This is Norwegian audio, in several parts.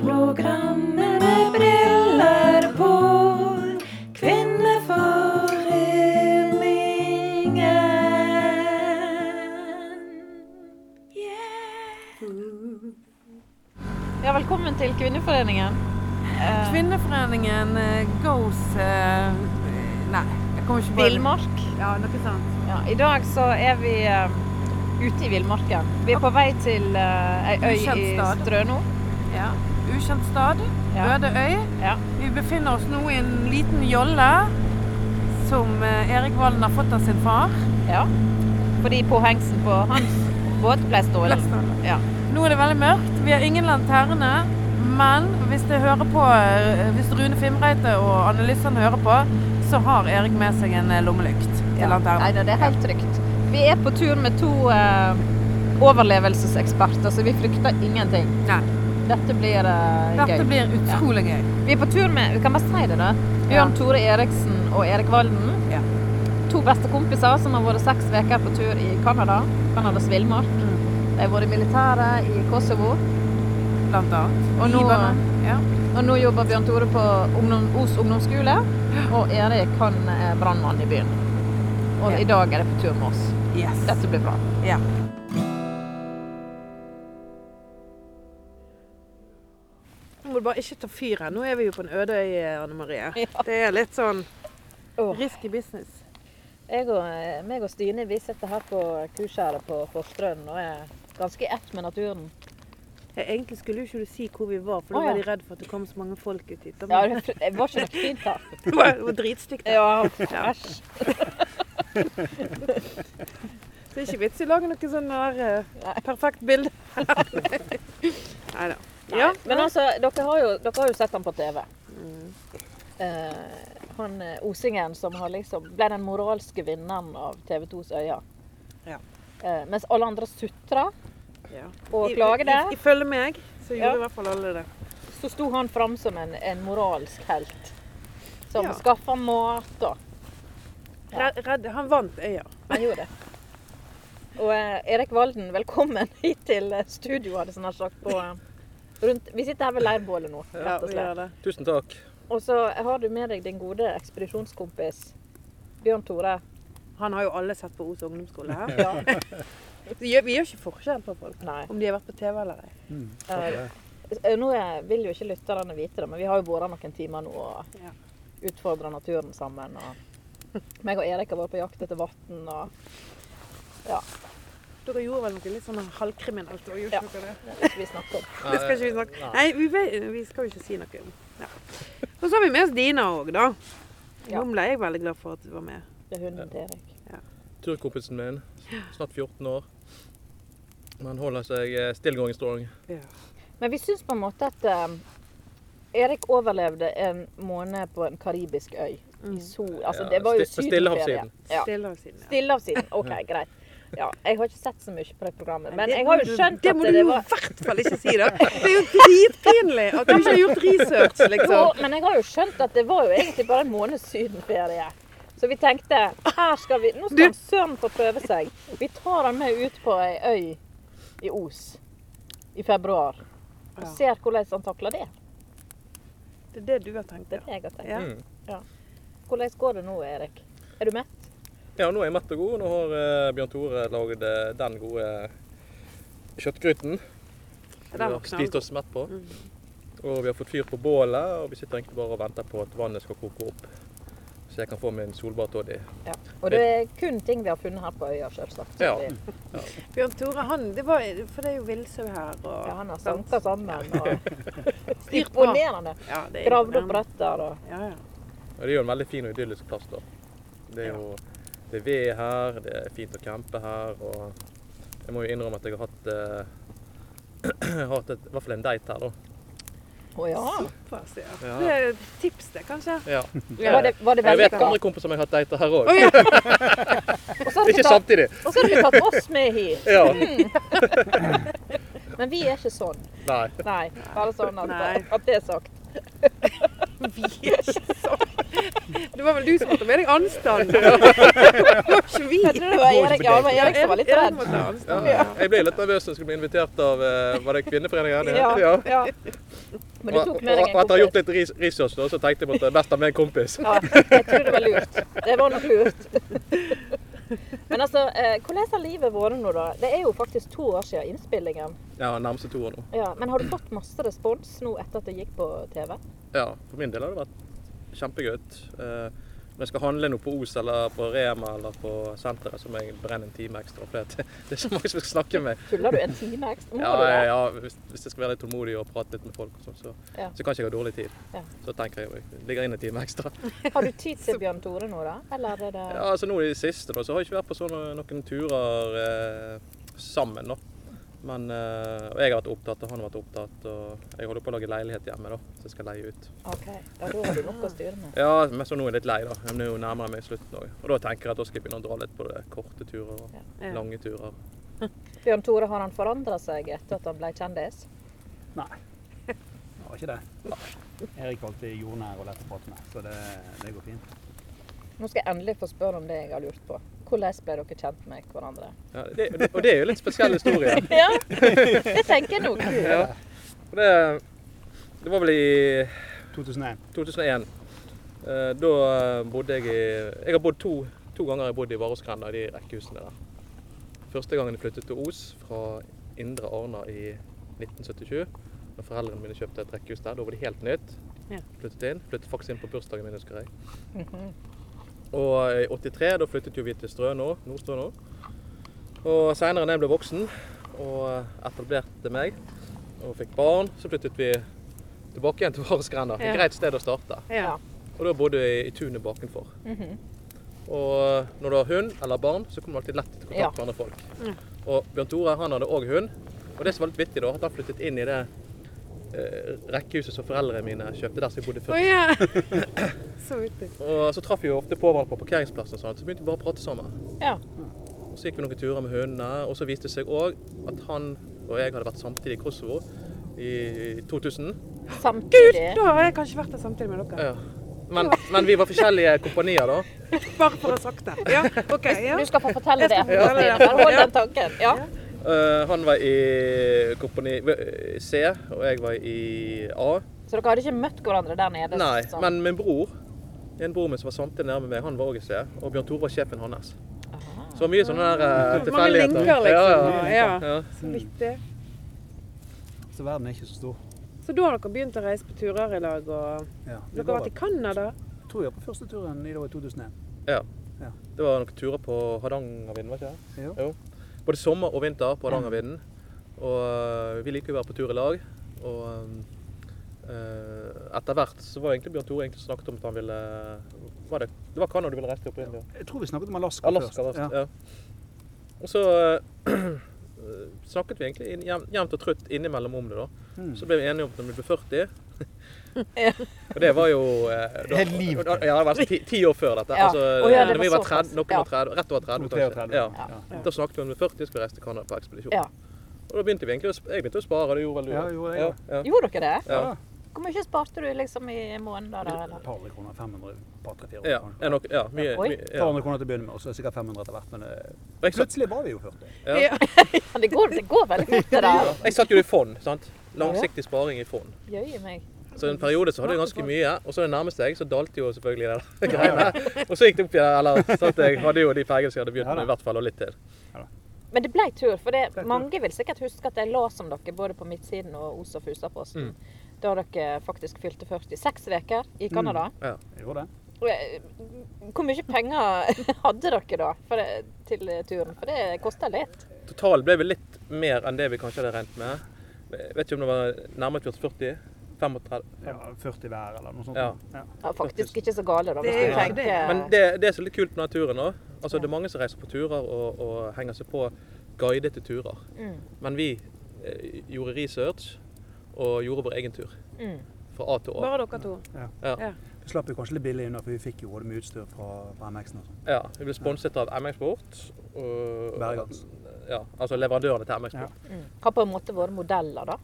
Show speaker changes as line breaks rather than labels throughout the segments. Radioprogrammet med briller på. Kvinneforeningen.
Ja, velkommen til Kvinneforeningen. Eh,
Kvinneforeningen eh, goes eh, Nei, jeg kommer ikke på det.
Villmark.
Ja, noe sånt.
Ja, I dag så er vi eh, ute i villmarken. Vi er på vei til eh, ei øy i
Ukjent stad.
Strøno.
Ja. Ukjent stad,
Ja.
øde øy.
Ja.
Vi befinner oss nå i en liten jolle som eh, Erik Valen har fått av sin far.
ja. Fordi påhengsen på hans båt ble stålet. Ja.
Nå er det veldig mørkt. Vi har ingen lanterne. Men hvis, det hører på, eh, hvis Rune Fimreite og Anne Lysson hører på, så har Erik med seg en eh, lommelykt til
Nei
lanternen.
da, det er helt trygt. Vi er på tur med to eh, overlevelseseksperter, så vi frykter ingenting.
Nei.
Dette blir eh, gøy.
Dette blir utrolig gøy.
Vi er på tur med vi kan bare si det da, Bjørn Tore Eriksen og Erik Valden.
Ja.
To beste kompiser som har vært seks uker på tur i Canada. Canadas villmark. De har vært i militæret i Kosovo.
Blant annet.
Og nå-
Libanon. ja.
Og nå jobber Bjørn Tore på ungdom, Os ungdomsskole. Og Erik han er brannmann i byen. Og
Ja.
i dag er de på tur med oss.
Yes.
Dette blir bra.
Ja.
Nå må du bare ikke ta fyret. Nå er vi jo på en øde øy, eh, Anne Marie.
Ja.
Det er litt sånn
Åh.
risky business.
Jeg og, eh, meg og Stine vi sitter her på kursgjerdet på Forstrøen og er ganske i ett med naturen.
Jeg, egentlig skulle jo ikke du si hvor vi var, for
Å,
da
ja.
var de redd for at det kom så mange folk ut hit.
Ja, det det var ikke noe fint her.
det var, det var dritstygt. der.
Ja, æsj.
Det er ikke vits i å lage noe sånn her eh, perfekt bilde. Nei da. Ja.
Men altså, dere har jo, dere har jo sett han på TV. Mm. Eh, han eh, Osingen som har liksom, ble den moralske vinneren av TV 2s Øya.
Ja.
Eh, mens alle andre sutra
ja.
og
I-
klager
i-
det,
Ifølge meg så
Ja.
gjorde i hvert fall alle det.
så sto han fram som en, en moralsk helt. Som
Ja.
skaffa mat og Ja.
Redd, redd, han vant øya.
Han gjorde det. Og eh, Erik Valden, velkommen hit til eh, studio, hadde jeg nær sagt. På, eh, rundt, vi sitter her ved leirbålet nå,
Ja,
rett og
vi
slett.
gjør det.
Tusen takk.
Og så har du med deg din gode ekspedisjonskompis Bjørn Tore.
Han har jo alle sett på Os ungdomsskole her.
Ja.
Vi gjør, vi gjør ikke forskjell på folk.
Nei.
Om de har vært på TV eller ei.
Eh, eh, nå er- vil jo ikke lytterne vite det, men vi har jo vært noen timer nå og
Ja.
utfordra naturen sammen. Og meg og Erik har vært på jakt etter vann. Og
Dere gjorde vel noe litt sånn halvkriminelt og gjorde
Ja.
dere det?
vi snakker om
Det
Eh,
skal ikke vi snakke Nei, vi, vet- vi skal jo ikke si noe. om. Ja. Og så har vi med oss Dina òg, da.
Ja.
Hun ble jeg veldig glad for at du var med.
det er hunden til Erik.
Turkompisen min, snart 14 år. Men holder seg eh, still going strong.
Men vi syns på en måte at eh, Erik overlevde en måned på en karibisk øy i sol. Altså,
Ja,
det var jo
sti- på Stillehavssiden.
sydenferie. Ja.
Stillehavssiden. Ja.
Stillehavssiden. OK, greit. Ja, jeg har ikke sett så mye på det programmet, men
Det
jeg
må
har jo
du-
skjønt
Det
at
må du
det
jo
var
i hvert fall ikke si, da. Det er jo dritpinlig at du ikke har gjort research,
Jo,
liksom.
men jeg har jo skjønt at det var jo egentlig bare en måned sydenferie. Så vi tenkte her skal vi, nå skal han søren få prøve seg. Vi tar han med ut på ei øy i Os i februar. Og
Ja.
ser hvordan han takler det.
Det er det du har tenkt.
Det
Ja.
er det jeg har tenkt.
Ja.
Mm.
Hvordan går det nå, Erik? Er du mett?
Ja, nå er jeg mett og god. Nå har eh, Bjørn Tore lagd eh, den gode
Den
kjøttgryten.
Mm.
Vi har
var knallgod.
spist oss mett på. Og vi har fått fyr på bålet, og vi sitter egentlig bare og venter på at vannet skal koke opp. Så jeg kan få min solbærtoddy.
Ja. Og det er kun ting vi har funnet her på øya, selvsagt.
Ja.
Vi-
Bjørn Tore, han det var, For det er jo villsau her. Og,
ja, han har sanka sammen. Og
Styrt bra.
imponerende.
Ja, det er
Gravd opp
imponerende.
røtter og
Ja, ja.
Og det er jo en veldig fin og idyllisk plass, da. Det er jo det er ved her, det er fint å campe her, og jeg må jo innrømme at jeg har hatt eh, hatt et, i hvert fall en date her, da.
Å ja.
Såpass, ja.
Ja.
Det er et tips, det, kanskje.
Ja.
Var det, var det
Jeg vet
vellykka?
andre kompiser som har hatt dater her òg.
Å, ja.
Og så har du
Ikke
tatt-
samtidig.
og så har du tatt oss med hit.
Ja.
Men vi er ikke sånn.
Nei.
Nei, bare sånn at,
Nei.
at det er sagt.
Vi er ikke sånn. Det var vel du som måtte med deg anstand. Det var ikke vi.
Jeg tror det var Erik, ja, det var Erik som var litt redd.
måtte ha anstand.
Ja, jeg ble litt nervøs når jeg skulle bli invitert av eh, Var det Kvinneforeningen?
Ja, ja. Men du
Og, og,
tok
og
med deg en
etter å ha gjort
kompis.
litt ris- research, da, så tenkte jeg at det er best å ha med en kompis.
Ja, jeg tror det var lurt. Det var nok lurt. Men altså, eh, hvordan har livet vært nå, da? Det er jo faktisk to år siden innspillingen.
Ja, nærmeste to år nå.
Ja, men har du fått masse respons nå etter at det gikk på TV?
Ja, for min del har det vært kjempegøy. Eh, når jeg skal handle noe på Os eller på Rema eller på senteret, så må jeg brenne en time ekstra. For det, det er så mange som vil snakke med meg.
Tuller du en time ekstra? Må
Ja,
du det?
ja, ja, hvis, hvis jeg skal være litt tålmodig og prate litt med folk, og sånn, så,
Ja.
så kan ikke jeg ha dårlig tid.
Ja.
Så tenker jeg jeg ligger inne en time ekstra.
Har du tid til Bjørn Tore nå, da? Eller er det
Ja, altså nå i det siste da, så har jeg ikke vært på sånne, noen turer eh, sammen da. Men eh, og jeg har vært opptatt, og han har vært opptatt, og jeg holder på å lage leilighet hjemme da, så jeg skal leie ut.
OK. Ja, da har du nok å styre med.
Ja, men så nå er jeg litt lei da, men nå nærmer jeg meg slutten også. Og da tenker jeg at da skal jeg begynne å dra litt på det korte turer og
Ja.
lange turer.
Bjørn Tore, har han forandra seg etter at han ble kjendis?
Nei. Det var ikke det. Erik var alltid jordnær og lett å prate med, så det, det går fint.
Nå skal jeg endelig få spørre om det jeg har lurt på. Hvordan ble dere kjent med hverandre?
Ja, det, og det er jo litt spesiell historie.
Ja, det tenker jeg nå.
Ja. Og Det, det var vel i
2001.
2001. Eh, Da bodde jeg i Jeg har bodd to, to ganger jeg bodde i Varåsgrenda, de rekkehusene der. Første gangen jeg flyttet til Os fra Indre Arna i 1977. Da foreldrene mine kjøpte et rekkehus der. Da var det helt nytt.
Ja. Mhm.
Flyttet inn. Flyttet faktisk inn på bursdagen min, husker jeg. Og eh, i 83, da flyttet jo vi til Strø nå, Nordstrø nå. Og seinere da jeg ble voksen og eh, etablerte meg og fikk barn, så flyttet vi tilbake igjen til Varåsgrenda. Et
Ja.
greit sted å starte.
Ja.
Og da bodde jeg i tunet bakenfor. Og når du har hund eller barn, så kommer du alltid lett i kontakt
Ja. Mm.
med andre folk. Og Bjørn Tore han hadde òg hund. Og det som var litt vittig, da, at han flyttet inn i det eh, rekkehuset som foreldrene mine kjøpte der som jeg bodde
Å
før.
ja. Så vittig.
Og så traff vi jo ofte på hverandre på parkeringsplassen, og sånt, så begynte vi bare å prate sammen.
Ja.
Og så gikk vi noen turer med hundene, og så viste det seg òg at han og jeg hadde vært samtidig i Kosovo i 2000.
Gud,
Samtidig.
da har jeg kanskje vært der samtidig med dere.
Ja. Men, men vi var forskjellige kompanier da.
Bare for å ha sagt det. Ja, OK. Ja.
Du skal få fortelle det.
Ja, ja, ja.
Men Hold den tanken. Ja.
Eh, han var i kompani v- C, og jeg var i A.
Så dere hadde ikke møtt hverandre der nede?
Nei,
sånn?
men min bror, en bror min som var samtidig nærme meg, han var òg i C. Og Bjørn Tore var sjefen hans. Så det var mye sånne der eh,
Mange
tilfeldigheter.
linker,
Ja,
liksom. Ja.
ja. ja.
Så vittig.
Så verden er ikke så stor.
Så da har dere begynt å reise på turer i lag, og
Ja. Vi
dere har vært i Canada?
tror jeg var på første turen i det var i 2001.
Det var noen turer på Hardangervidda, var ikke det?
Jo.
Jo. Både sommer og vinter på Hardangervidda. Og eh, vi liker å være på tur i lag. Og eh, etter hvert så var egentlig Bjørn Tore egentlig som snakket om at han ville Var det, det var Canada du ville reise til opprinnelig?
Jeg tror vi snakket om Alaska,
Alaska
først.
først. Ja. Og så eh, snakket vi egentlig inn- jevn- jevnt og trutt innimellom om det, da.
Mm.
Så ble vi enige om at når vi ble 40 Og det var jo eh, da,
Et liv.
da- Ja, det var altså ti, ti år før dette.
Ja.
Altså,
Å ja, det
når
var
vi var
såpass.
30, noen
Ja.
var 30, rett over 30, kanskje.
32.
Ja.
Ja.
Da snakket vi om at vi ble 40 skulle reise til Canada på ekspedisjon.
Ja.
Og da begynte vi egentlig å, sp- jeg begynte å spare, det gjorde vel du
Ja,
også.
gjorde jeg
ja,
også.
ja.
Gjorde dere det?
Ja.
Hvor mye sparte du liksom i måneder der?
Et
Eller?
par hundre kroner. 500, par tre-fire
Ja, er nok, ja, mye,
Oi.
mye,
Et
ja.
par hundre kroner til å begynne med, og så er det sikkert 500 etter hvert. Men eh,
Og Jeg, satt,
plutselig var vi jo 40.
Ja.
Ja.
Ja, det, går, det går veldig fort, det der.
jeg satt jo i fond, sant? Langsiktig sparing i fond.
Jøye meg.
Så en periode så hadde jeg ganske mye, og så det nærmeste jeg, så dalte jo selvfølgelig det der greiene. Og så gikk det opp igjen, eller sånn at jeg hadde jo de pengene som jeg hadde begynt med, i hvert fall, og litt til.
Men det ble tur, for det,
tur.
mange vil sikkert huske at jeg las om dere både på Midtsiden og Os- og Fusaposten. Da dere faktisk fylte 46 uker i Canada.
Jeg gjorde det.
Og, eh, Hvor mye penger hadde dere da for, det- til turen? For det kosta litt.
Totalen ble vel litt mer enn det vi kanskje hadde regnet med. Jeg vet ikke om det var nærmere 40, 35.
Ja, 40 hver eller noe sånt.
Ja.
Ja, faktisk ikke så gale, da, hvis
Det er
du
jo ikke
tenker
Men det, det som er litt kult med naturen òg, altså det er mange som reiser på turer og, og henger seg på guidede turer.
Mm.
Men vi eh, gjorde research og gjorde vår egen tur.
Mm.
Fra A til Å.
Bare dere to?
Vi slapp jo kanskje litt billig unna, for vi fikk jo både mye utstyr fra, fra MX-en og sånn.
Ja, vi ble sponset av MX Sport. og-
Bergans.
Ja, altså leverandørene til MX Sport.
Ja.
Mm. Har på en måte vært modeller, da?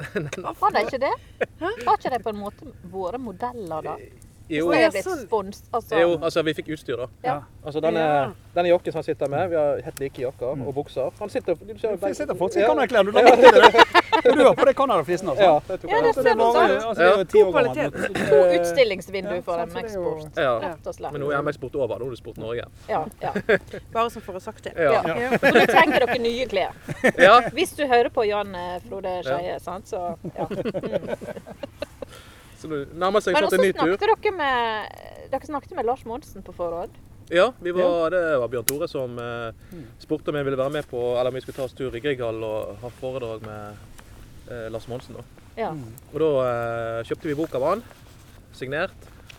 Har de ikke det? Har ikke de på en måte vært modeller, da?
Jo.
Så er jeg
Å, ja,
blitt
sånn.
spons. Altså,
Jo, altså vi fikk utstyr, da.
Ja.
Altså denne,
Ja.
denne jakken som han sitter med, vi har helt like jakker og bukser. Han sitter du ser-
Jeg Mm. sitter fortsatt i Canada-klær. Du la merke til det. Du har på deg Canada-flisen, altså.
Ja, det tok
Ja,
jeg.
det
Så
ser du
var
sånn.
jo- altså, det er jo
Ja.
ti år
God
gammelt.
To
Eh,
utstillingsvindu
ja,
for
sant,
en
så det er jo-
Maxport,
ja.
rett og slett.
Men nå er MX-Sport over. Nå har du spurt Norge.
Ja, ja.
Bare så for å ha sagt det.
Ja.
Ja. Så nå trenger dere nye klær.
ja.
Hvis du hører på Jan eh, Frode Skeie, sant, så ja.
Så nå nærmer seg
Men
snart
også
en ny tur.
snakket dere med Dere snakket med Lars Monsen på forhånd.
Ja, vi var, det var Bjørn Tore som eh,
Mm.
spurte om jeg ville være med på Eller om vi skulle ta oss tur i Grieghallen og ha foredrag med eh, Lars Monsen. Da.
Ja.
Og da eh, kjøpte vi bok av han, signert.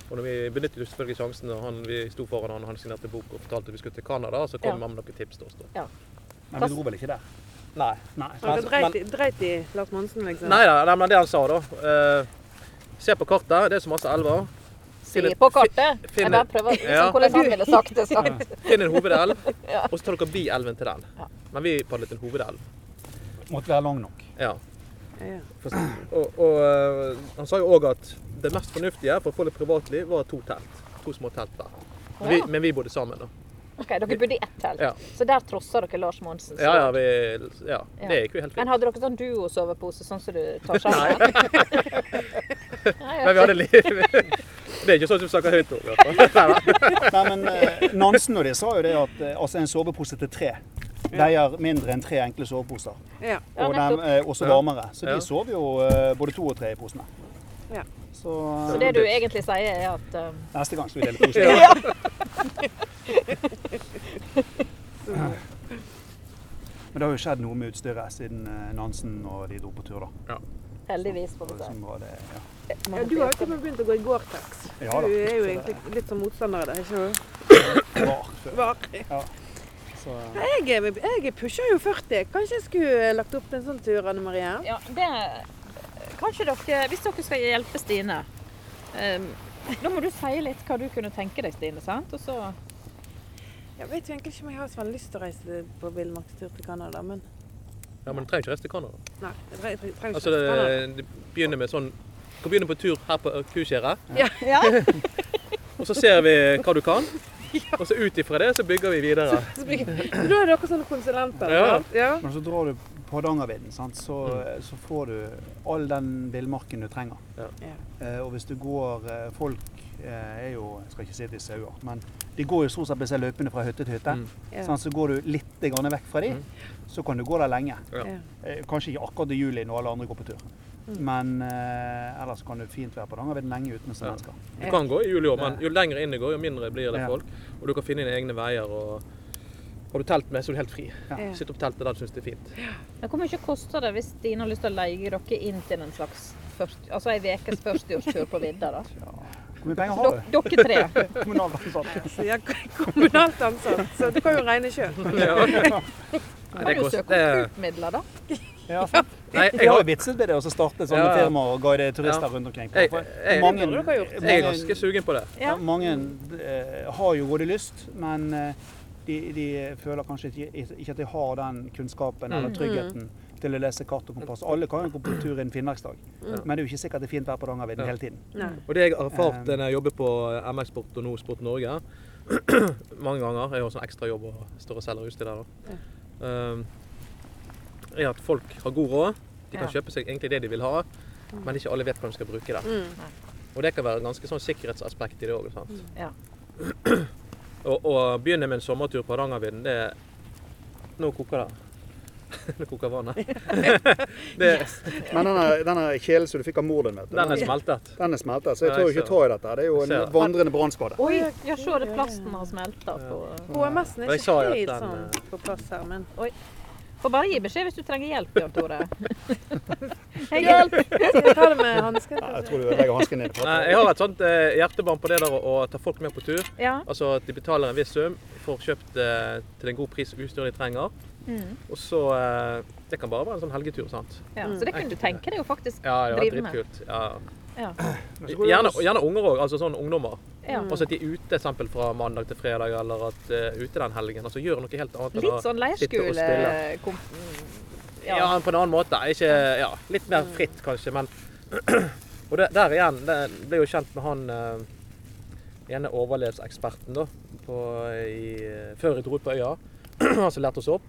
Og når vi benyttet jo selvfølgelig sjansen når han, vi sto foran han, og han signerte bok og fortalte at vi skulle til Canada, så kom
Ja.
han med noen tips til oss. da.
Men vi dro vel ikke der?
Nei.
Nei.
Og dere dreit, i- dreit i Lars Monsen, liksom?
Nei da, nei, men det han sa, da. eh, se på kartet, det er så masse elver.
Si på kartet.
Finn-
Jeg bare prøver å
Ja.
liksom, hvordan han ville sagt det. Sant?
Finn en hovedelv, og så tar dere bielven til den. Men vi padlet en hovedelv.
Måtte være lang nok.
Ja.
Ja, ja.
Og, og eh, han sa jo òg at det mest fornuftige for å få litt privatliv, var to telt. To små telt hver. Men vi,
Ja.
men vi bodde sammen, da.
Ok, dere bodde i ett telt,
Ja.
så der trosser dere Lars Monsen. så-
Ja, ja, vi, ja. Det gikk jo helt
Men
fint.
hadde dere sånn duo-sovepose, sånn som du tar sammen? Nei,
Men vi hadde liv. Det er ikke sånn som vi snakker høyt om. i hvert fall. Nei, nei.
Nei, men eh, Nansen og de sa jo det at eh, altså en sovepose til tre veier mindre enn tre enkle soveposer.
Ja.
Ja,
Og
nettopp.
de er også
Ja.
varmere. Så
Ja.
de sov jo eh, både to og tre i posene.
Ja.
Så eh,
Så det du egentlig sier, er at um,
neste gang skal vi dele poser.
Ja.
Men det har jo skjedd noe med utstyret siden eh, Nansen og de dro på tur, da.
heldigvis, får vi si.
Som var det, ja.
Sånn Ja, du har jo til og med begynt å gå i Gore-Tex.
Ja da.
Du er jo
Så det-
egentlig litt som motstander av det, ikke sant?
var før.
Var.
Så,
Jeg, er- jeg pusher jo 40. Kanskje jeg skulle lagt opp til en sånn tur, Anne Marie?
Ja, det Kanskje dere Hvis dere skal hjelpe Stine um, Da må du si litt hva du kunne tenke deg, Stine. sant? Og så
Jeg vet jo egentlig ikke om jeg har så veldig lyst til å reise på villmarkstur til Canada, men
Ja, men du trenger ikke reise til Canada.
nei. Jeg tre- tre- trenger ikke
Altså,
til Canada.
det, det begynner med sånn Du kan begynne på tur her på Kusgjerdet.
Ja,
Og så ser vi hva du kan, og så ut ifra det så bygger vi videre.
Så blir- så da er dere sånne konsulenter?
Ja.
sant? ja.
men så drar du på Hardangervidda, sant, så, eh, så får du all den villmarken du trenger.
Ja.
Eh, og hvis du går eh, Folk eh, er jo Jeg skal ikke si at de er sauer, men de går jo stort sett disse løypene fra hytte til hytte.
Mm.
Ja.
sant, så går du litt grann vekk fra de,
Mm.
så kan du gå der lenge.
Ja.
Ja.
Eh, Kanskje ikke akkurat i juli når alle andre går på tur. Men eh, ellers kan du fint være på Hardangervidda lenge uten å se
Ja.
mennesker.
Du kan gå i juli òg, men jo lenger inn du går, jo mindre blir det
Ja.
folk. Og du kan finne dine egne veier. og Har du telt med, så er du helt fri.
Ja.
Sitt opp teltet der du syns det er fint.
Men Hvor mye koster det hvis Stine har lyst til å leie dere inn til en slags først, altså ei ukes 40-årstur på vidda? da?
Hvor mye penger har
Dok,
du?
dere tre.
Kommunalansatte.
Så jeg er kommunalt ansatt, så du kan jo regne sjøl.
Nei,
Kan
det
du
koster
søke om KUP-midler, da?
Ja, sant.
Nei,
Vi
jeg,
har jo
har,
vitset med det å starte sånne
Ja, ja.
firmaer og guide turister rundt omkring.
Jeg-
For
Eh, jeg-
mange,
Det burde dere ha gjort.
jeg er ganske sugen på det.
ja, mange eh, har jo både lyst, men eh, de, de føler kanskje ikke, ikke at de har den kunnskapen eller tryggheten til å lese kart og kompass. Alle kan jo gå på tur en finnmarksdag, men det er jo ikke sikkert det er fint vær på Hardangervidda
Ja.
hele tiden.
Nei.
Og det jeg har erfart
Um.
når jeg jobber på MX Sport og nå Sport Norge mange ganger, jeg har sånn ekstra jobb og står og selger utstyr der, da, um, er at folk har god råd. De kan
Ja.
kjøpe seg egentlig det de vil ha, men ikke alle vet hva de skal bruke det. Og det kan være ganske sånn sikkerhetsaspekt i det òg.
Ja.
Å å begynne med en sommertur på Hardangervidda, det er- Nå koker det. Nå koker vannet. det,
Men denne, denne kjelen som du fikk av mor din, vet
Den er smeltet.
den er smeltet,
så jeg tør jo ikke ta
i dette. Det er jo
en Ser det.
vandrende brannskade.
Oi, ja, se det plasten har smelta på
HMS-en er
Jeg sa
ikke
jo at
helt
den,
sånn
eh,
på plass her, men
Får bare gi beskjed hvis du trenger hjelp, Bjørn Tore. Jeg
Skal jeg ta det med altså. hansker?
Jeg tror du legger hansken ned.
Nei, jeg har et sånt eh, hjertebarn på det der å å ta folk med på tur.
Ja.
Altså at de betaler en viss sum, får kjøpt eh, til en god pris utstyr de trenger.
Mm.
Og så eh, Det kan bare være en sånn helgetur, sant?
ja. Så det kunne du tenke deg jo faktisk.
Ja, ja,
Drive med.
dritkult. Ja.
Ja.
Gjerne, og gjerne unger òg, altså sånn ungdommer.
Ja.
Altså at de er ute eksempel fra mandag til fredag, eller at eh, ute den helgen. Altså gjør noe helt annet. enn å
Litt sånn
sitte og spille.
leirskole... kom- mm,
Ja,
Ja.
på en annen måte. Ikke, ja, litt mer fritt, kanskje, men Og det, der igjen, det ble jo kjent med han eh, ene overlevseksperten da, på, i, før jeg dro ut på øya, han som lærte oss opp,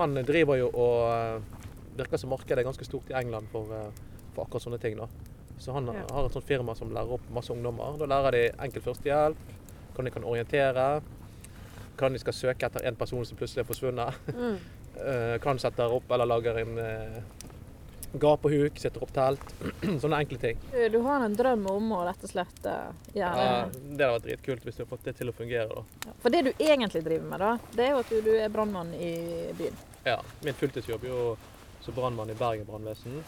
han driver jo og eh, virker som markedet er ganske stort i England for, eh, for akkurat sånne ting. da. Så han
Ja.
har et sånt firma som lærer opp masse ungdommer. Da lærer de enkel førstehjelp, hvordan de kan orientere, hvordan de skal søke etter en person som plutselig er forsvunnet.
Mm.
Eh, Kan sette opp eller lager en eh, gapehuk, setter opp telt. Sånne enkle ting.
Du har en drøm om å rett og slett eh, gjøre
Ja, det hadde vært dritkult hvis du hadde fått det til å fungere. da.
det. For det du egentlig driver med, da, det er jo at du, du er brannmann i byen.
Ja, Min fulltidsjobb er jo som brannmann i Bergen brannvesen.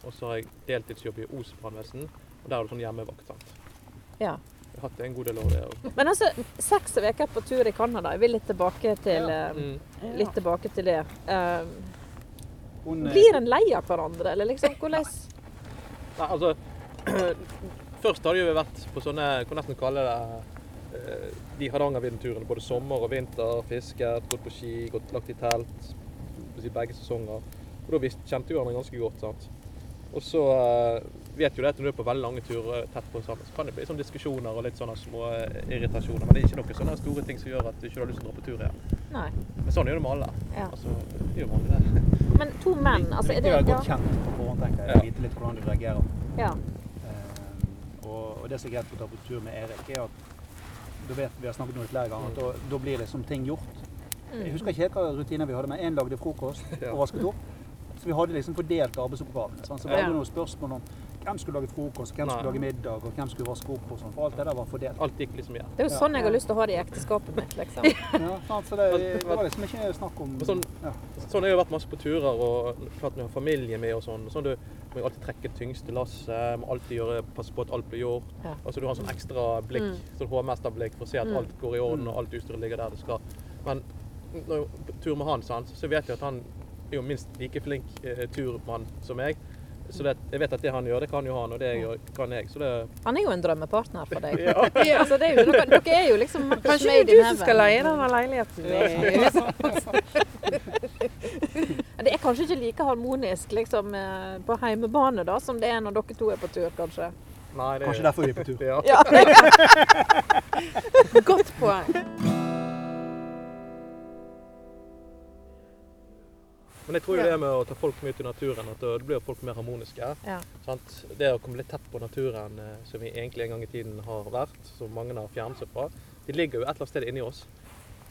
Og så har jeg deltidsjobb i Os brannvesen. Og der er du sånn hjemmevakt. sant?
Ja.
Jeg har hatt en god del år der. også.
Men altså, seks uker på tur i Canada. Jeg vil litt tilbake til, eh,
Mm.
litt tilbake til det. Eh,
Hun, eh,
blir en lei av hverandre, eller liksom hvordan
Nei, altså Først har det jo vært på sånne Jeg kan nesten kalle det eh, de Hardangervidden-turene. Både sommer og vinter. Fisket, gått på ski, gått lagt i telt. på å si Begge sesonger. Og da visste, kjente vi hverandre ganske godt. sant? Og så eh, vet jo det at når du er på veldig lange turer tett på sammen, så kan det bli sånne diskusjoner og litt sånne små eh, irritasjoner. Men det er ikke noen sånne store ting som gjør at du ikke har lyst til å dra på tur igjen.
Nei.
Men sånn gjør det med alle.
Ja.
Altså, det gjør man jo det.
Men to menn, altså er
Viktig
det
å være
ja,
godt kjent på forhånd, tenker
Ja.
jeg. Vite litt hvordan du reagerer.
ja.
Eh, Og, og det som er greit på å ta på tur med Erik, er at du vet, vi har snakket om det flere ganger, at da,
Mm.
da blir liksom ting gjort. Jeg husker ikke helt hva rutiner vi hadde, men én lagde frokost
Ja.
og vasket opp. Så vi hadde liksom fordelt arbeidsoppgavene. sant? Så var det noen spørsmål om hvem skulle lage frokost, hvem
Nei.
skulle lage middag, og hvem skulle vaske opp og sånn. For alt det der var fordelt.
Alt gikk liksom igjen.
Det er jo sånn jeg har lyst til å ha det i ekteskapet mitt, liksom.
Ja, sant? Så det, det var liksom ikke snakk om
Og sånn-
ja.
Sånn har jeg jo vært masse på turer og klart når jeg har familie med og sånn. sånn du må jo alltid trekke tyngste lasset, må alltid gjøre, passe på at alt blir gjort.
Ja.
Altså du har en sånn ekstra blikk, sånn HMS-blikk for å se at alt går i orden og alt utstyret ligger der det skal. Men når jeg er på tur med han, sant, så vet jeg at han er jo minst like flink eh, turmann som meg. Så det, jeg vet at det han gjør, det kan jo han, og det jeg gjør, kan jeg. Så det
Han er jo en drømmepartner for deg.
ja.
Altså, det er jo, dere, dere er jo liksom match
Kanskje det
made
er du
in
som
heaven.
skal leie denne leiligheten? i-
sånn.
Det er kanskje ikke like harmonisk liksom, eh, på heimebane da, som det er når dere to er på tur, kanskje.
Nei, det
Kanskje derfor vi er på tur.
Ja.
Ja.
Godt poeng.
Men jeg tror jo
Ja.
det med å ta folk med ut i naturen, at da blir jo folk mer harmoniske.
Ja.
Sant? Det å komme litt tett på naturen, eh, som vi egentlig en gang i tiden har vært, som mange har fjernet seg fra, de ligger jo et eller annet sted inni oss.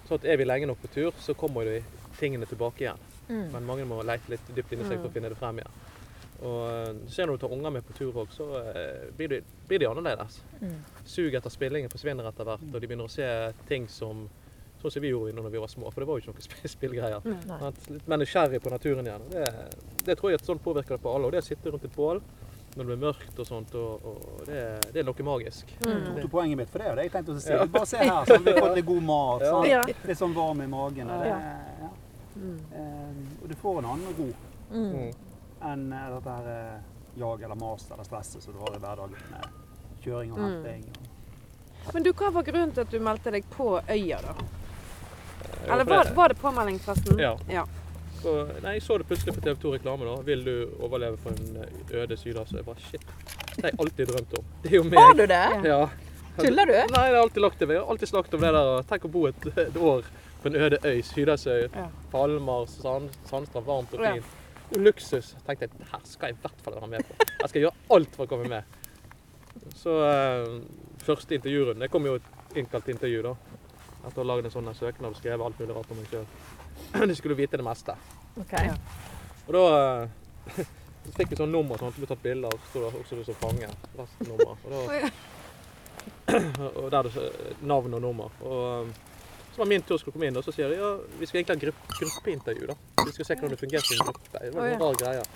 Så at er vi lenge nok på tur, så kommer de tingene tilbake igjen.
Mm.
Men mange må leite litt dypt inni seg for å finne det frem igjen. Og eh, så når du tar unger med på tur òg, så eh, blir de, blir de annerledes.
Mm.
Suget etter spillingen forsvinner etter hvert, og de begynner å se ting som Sånn som vi gjorde når vi var små, for det var jo ikke noen sp- spillgreier.
Nei.
At litt mer nysgjerrig på naturen igjen. og Det, det tror jeg at sånn påvirker det på alle. Og det å sitte rundt et bål når det blir mørkt og sånt, og, og det, det er noe magisk.
Mm.
Mm.
tok
Det-
du poenget mitt, for det er jo det jeg tenkte å si. Bare se her, sånn, vi har fått litt god mat.
Ja.
sant?
Ja.
Litt sånn varm i magen. Og, det,
Ja.
ja.
Mm.
Eh, og du får en annen ro
Mm.
enn eh, dette her eh, jag eller mas eller stresset som du har i hverdagen med kjøring og
Mm.
henting.
Men du, hva var grunnen til at du meldte deg på Øya, da? Eller
for
var,
det-
var det påmelding, forresten?
Ja.
ja.
Og, nei, jeg så det plutselig på TV 2-reklame. da. 'Vil du overleve på en eh, øde sydhavs?' Og jeg bare shit. Det har jeg alltid drømt om. Det er jo
Har
meg.
du det?
Ja.
Tuller du?
Nei, jeg har alltid lagt det ved. Jeg har alltid snakket om det der. og Tenk å bo et, et år på en øde øy, Sydhavsøy. Palmer, sand, sandstrand, varmt og
Ja.
fint. Det er jo Luksus. Jeg tenkte jeg, det her skal jeg i hvert fall være med på. Jeg skal gjøre alt for å komme med. Så eh, første intervjurunde Jeg kom jo et innkalt til intervju, da. Etter å ha lagd en sånn søknad og skrevet alt mulig rart om meg sjøl. De skulle jo vite det meste.
Ok.
Og da eh, så fikk vi sånn nummer sånn, så ble tatt bilder, og så sto det også du som fange. Lastnummer. Og, da, og der det så- eh, navn og nummer. Og eh, så var min tur skulle komme inn, og så sier de ja, vi skal egentlig ha en grupp, gruppeintervju. da. Vi skal se hvordan det fungerer i en gruppe. Det var
Å,
en
ja.
rar greie. Så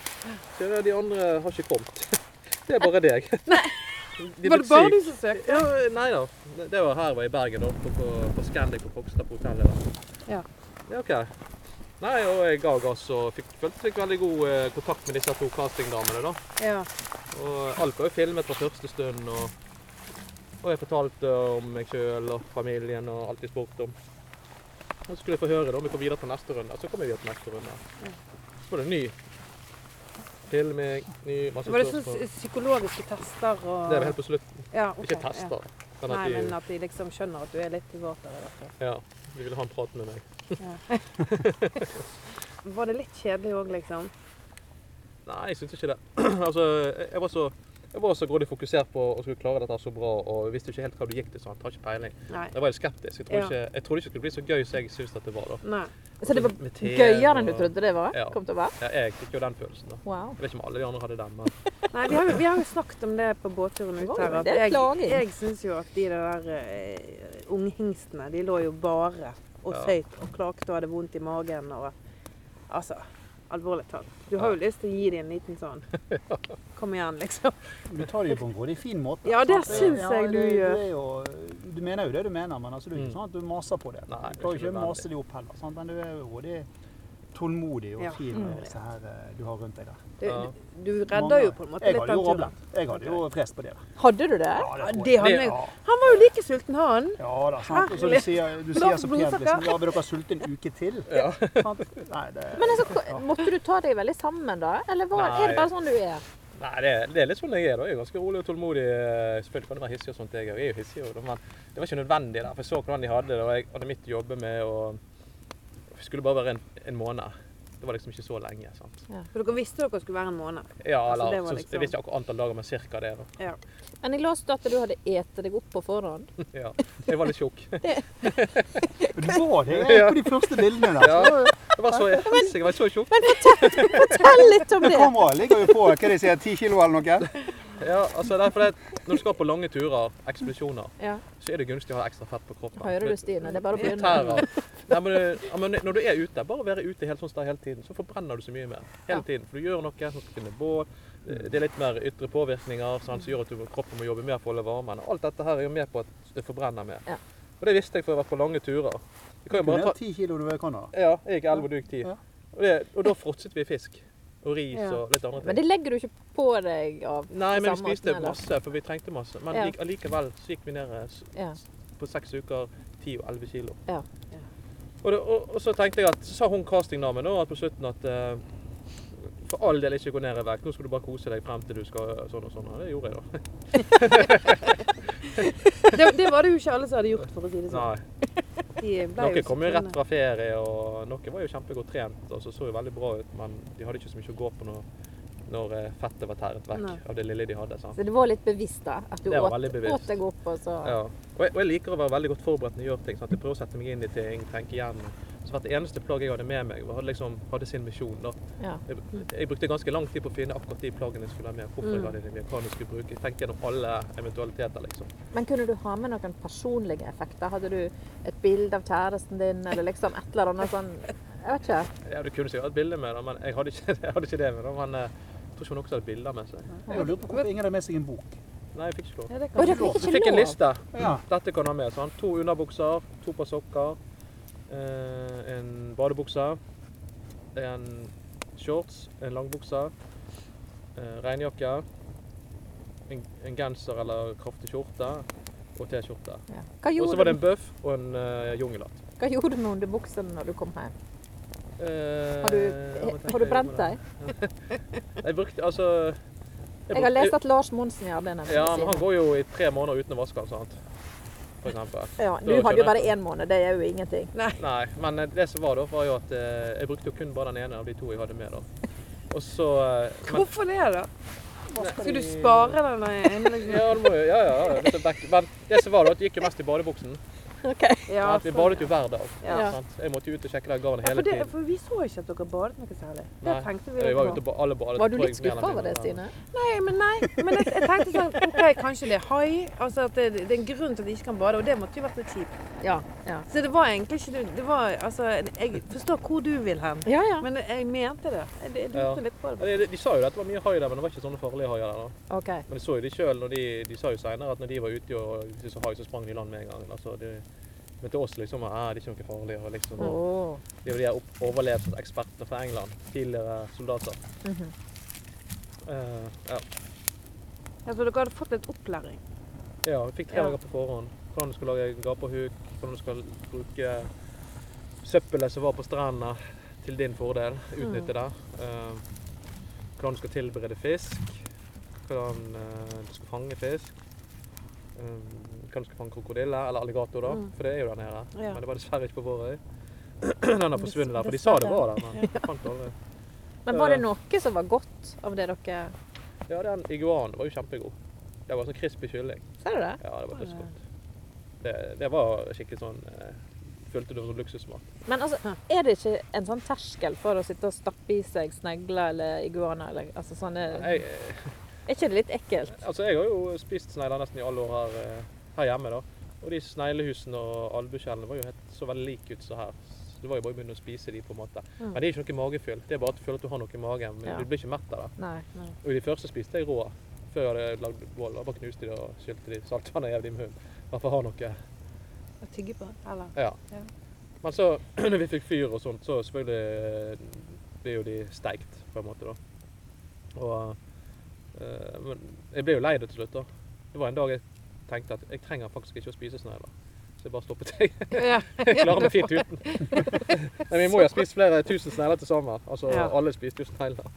sier jeg, ja, de andre har ikke kommet. Det er bare deg. De
Var
ble
det bare
syk.
du som søkte?
Ja, nei da. Det- Det var her var i Bergen, da, på, på, på Scandic på Kokstad på hotellet. Da.
Ja.
ja. OK. Nei, og jeg ga gass og fikk, følte fikk veldig god eh, kontakt med disse to castingdamene. da.
Ja.
Og alt var jo filmet fra første stund. Og, og jeg fortalte om meg sjøl og familien og alt de spurte om. Og så skulle jeg få høre da, om vi kom videre på neste runde. Så kom jeg videre på neste runde. Så var det ny filming, ny masse
Var det sånn
spørsmål.
psykologiske tester og
Det var helt på slutten.
ja, ok,
Ikke
ja.
tester. Men at
Nei,
de,
men at de liksom skjønner at du er litt våt der. i hvert fall.
ja, de ville ha en prat med meg.
Var det litt kjedelig òg, liksom?
Nei, jeg syntes ikke det. altså, jeg- jeg var så jeg var så grådig fokusert på å skulle klare dette så bra, og visste ikke helt hva du gikk til. sånn, Har ikke peiling.
Nei.
Jeg var litt skeptisk. Jeg trodde,
Ja.
ikke, jeg trodde ikke det skulle bli så gøy som jeg syntes at det var. da.
Nei.
Så det var
Med te
gøyere enn du
og-
trodde det var?
Ja.
kom til å være?
Ja, jeg fikk jo den følelsen. da.
Wow.
Jeg vet ikke om alle de andre hadde den, men
Nei, vi har, jo- vi har jo snakket om det på båtturen
Oi,
ut her. At
det er
jeg
klaging.
jeg syns jo at de der eh, unghingstene, de lå jo bare og
Ja.
søyt og klaget og hadde vondt i magen og Altså, alvorlig talt. Du har jo lyst til å gi dem en liten sånn Kom igjen, liksom.
Du tar det jo på en grådig fin måte.
Ja, det
sant?
syns jeg du
det- det
gjør.
er jo- Du mener jo det du mener, men altså, det er jo ikke
Mm.
sånn at du maser på det.
Nei,
du
det er
klarer
ikke
ikke å
nødvendig.
mase de opp heller, sant? men du er jo grådig tålmodig
Ja.
og fin
Mm.
med disse her eh, du har rundt deg der.
Du,
Ja.
du redder jo på en måte
jeg
litt
hadde
av
jo
turen.
rablet. Jeg hadde jo frest på det. da.
Hadde du det?
Ja, tror
det
jeg.
hadde
Det-
jeg.
ja.
Han var jo like sulten, han.
Ja da, sant. Og så du sier, du sier så pent
Blodsukker.
liksom, ja, vil dere sulte en uke til?
Ja.
Sant? Nei, det...
Men altså, hva- Måtte du ta deg veldig sammen da? Eller var, er det
Nei.
bare sånn du er?
Nei, det, er- det er litt sånn jeg er. da. Jeg er ganske rolig og tålmodig. Eh, Selvfølgelig kan det være hissig og sånt, jeg er jo- jeg er jo hissig, og da, men det var ikke nødvendig. der, for Jeg så hvordan de hadde det, og jeg hadde mitt å jobbe med. og Det skulle bare være en, en måned. Det var liksom ikke så lenge. sant?
For dere visste dere skulle være en måned.
Ja,
Altså,
eller,
det var
så,
liksom-
Jeg vet ikke akkurat antall dager, men cirka det. da.
Ja.
Men jeg leste at du hadde ete deg opp på forhånd.
Ja, Jeg var litt tjukk.
Men det var det jeg, på de første bildene der.
Ja, jeg var så, jeg var så tjukk.
Fortell litt om
Men
det!
kameraet ligger jo på hva de sier, 10 kilo eller noe.
Ja, altså det er fordi at Når du skal på lange turer, ekspedisjoner,
Ja,
så er det gunstig å ha ekstra fett på kroppen.
Hører du, Stine? Det er bare å
Litt
begynne.
tærer. Nei, men, du- ja, men når du er ute, bare være ute helt sånn sted hele tiden, så forbrenner du så mye mer. Hele tiden. For du gjør noe, så skal du finne bål. Det er litt mer ytre påvirkninger sånn, som gjør at du, kroppen må jobbe mer for å holde varmen. Og alt dette her er jo med på at det forbrenner mer.
Ja.
Og det visste jeg for å ha vært på lange turer. Du kan jo
Hvor
bare
er
ta
10 kilo du er i Canada?
Ja, jeg gikk 11 og du gikk 10.
Ja.
Og, det, og da fråtset vi fisk. Og ris
Ja.
og litt andre ting.
Men det legger du ikke på deg av på
Nei, men vi
samme måten,
spiste
eller?
masse, for vi trengte masse. Men
Ja.
lik- allikevel så gikk vi ned eh, s-
Ja.
på seks uker 10 og 11 kilo.
Ja.
Ja.
Og, det, og, og så tenkte jeg at, så sa hun castingdamen da, at på slutten at eh, for all del ikke gå ned i vekt, nå skal du bare kose deg frem til du skal eh, sånn og sånn. Og det gjorde jeg da.
Det, det var det jo ikke alle som hadde gjort, for å si det sånn.
Nei.
De ble jo
Noen kom jo
sultne.
rett fra ferie, og noen var jo kjempegodt trent og så så jo veldig bra ut, men de hadde ikke så mye å gå på når, når eh, fettet var tæret vekk
Nei.
av det lille de hadde. sant?
Så det var litt bevisst, da? At du
Det var
åt,
veldig bevisst.
åt deg opp, og så
Ja. Og jeg, og jeg liker å være veldig godt forberedt når jeg gjør ting. Sant? Jeg prøver å sette meg inn i ting, tenke igjennom. Så hvert eneste plagg jeg hadde med meg, var- hadde, liksom, hadde sin misjon. Da.
Ja.
Jeg, jeg brukte ganske lang tid på å finne akkurat de plaggene jeg skulle ha med, hvorfor jeg
Mm.
hadde dem med, hva jeg skulle bruke. Jeg tenkte gjennom alle eventualiteter, liksom.
Men kunne du ha med noen personlige effekter? Hadde du et bilde av kjæresten din, eller liksom et eller annet sånn Jeg vet ikke.
Ja, du kunne sikkert hatt bilde med det, men jeg hadde ikke, jeg hadde ikke det med. Da. Men eh, jeg tror ikke noen som hadde bilder med seg.
Jeg lurer på hvorfor ingen har med seg en bok.
Nei, jeg fikk ikke lov.
Ja, det
Å,
kan
dere fikk
Så
ikke
fikk jeg en
lov?
liste.
Ja.
Dette kan du ha med. Sånn. To underbukser, to par sokker, eh, en badebukse, en shorts, en langbukse, eh, regnjakke, en, en genser eller kraftig skjorte og T-skjorte.
Ja. Hva
Og så
gjorde,
var det
du,
en bøff og en eh, jungelhatt.
hva gjorde du med underbuksene når du kom hjem?
Eh,
Har du,
ja, men tenk
har du
jeg
brent
gjorde det.
deg?
Jeg brukte altså
Jeg har lest at Lars Monsen gjør det. nemlig,
Ja, men
siden-
han går jo i tre måneder uten å vaske den, sant? For eksempel.
Ja,
Da
du hadde jo
skjønner
bare
jeg.
én måned, det er jo ingenting.
Nei, men det som var da, var jo at eh, jeg brukte jo kun bare den ene av de to jeg hadde med. da. Og så eh, men,
Hvorfor det, da? Skal du spare den ene? liksom?
ja, det må jo, ja, ja, ja, det er back, men det som var da, at det gikk jo mest i badebuksen.
Ok.
Ja,
sant? vi badet jo hver dag.
Ja.
Sant? Jeg måtte jo ut og sjekke det garnet
Ja, for,
hele
det,
tiden.
for vi så ikke at dere badet noe særlig. Det
Nei,
tenkte vi
Vi
litt
var ute
på.
og ba- alle badet.
Var du
tror jeg,
litt
mer eller
skuffa over det,
mindre.
Stine?
Nei, men nei. Men jeg, jeg tenkte sånn OK, kanskje det er hai. Altså at det, det er en grunn til at de ikke kan bade, og det måtte jo vært litt kjipt.
Ja. Ja,
Så det var egentlig ikke du det var, Altså, jeg forstår hvor du vil hen,
ja. ja.
men jeg mente det. Jeg, jeg
Ja.
lurte litt på det.
Ja, de, de sa jo at det var mye hai der, men det var ikke sånne farlige haier der. da.
OK.
Men jeg så jo de sjøl, de, de sa jo seinere at når de var ute og de så hai, så sprang de i land med en gang. Altså, de, men til oss liksom ah, det er ikke noe farlig. Og liksom,
Mm. Åh.
Det er jo de her opp- overlevelsesekspertene fra England. Tidligere soldater.
Mhm.
Eh, ja.
Jeg tror dere hadde fått litt opplæring.
ja, vi fikk tre
Ja.
dager på forhånd. Hvordan du skal lage gapahuk, hvordan du skal bruke søppelet som var på strendene til din fordel. Utnytte
Mm.
det. Eh, hvordan du skal tilberede fisk. Hvordan eh, du skal fange fisk. Eh, mm, kanskje fange krokodille eller alligator, da.
Mm.
For det er jo der nede.
Ja.
Men det var dessverre ikke på vår øy. Den har forsvunnet der, for de sa det var der, men jeg fant aldri.
Men var det noe som var godt av det dere
Ja, den iguanen var jo kjempegod. Det var sånn crispy kylling.
Ser du det?
Ja, det var dødsgodt. Det, det var skikkelig sånn eh, Følte det var sånn luksusmat.
Men altså, er det ikke en sånn terskel for å sitte og stappe i seg snegler eller iguaner eller altså sånne
Jeg, eh,
Er ikke det litt ekkelt?
altså, jeg har jo spist snegler nesten i alle år her, eh, her hjemme, da. Og de sneglehusene og albuskjellene var jo helt, så veldig like ut som her. Så Det var jo bare å begynne å spise de på en måte. Men det er ikke noe magefyll. Det er bare at du føler at du har noe i magen, men
Ja.
du blir ikke mett av det.
Nei.
Og de første spiste jeg rå, før jeg hadde lagd bål. Da Bare knuste de og skylte de saltvannet jævlig i munnen. Bare for å ha noe
Å tygge på, eller?
Ja.
Ja.
Men så, når vi fikk fyr og sånt, så selvfølgelig eh, ble jo de steikt, på en måte, da. Og eh, Men jeg ble jo lei det til slutt, da. Det var en dag jeg tenkte at jeg trenger faktisk ikke å spise snegler. Så jeg bare stoppet. Jeg
Ja.
klarer meg fint uten. Men vi må jo ha spist flere tusen snegler til sammen. Altså
Ja.
alle spiste jo snegler.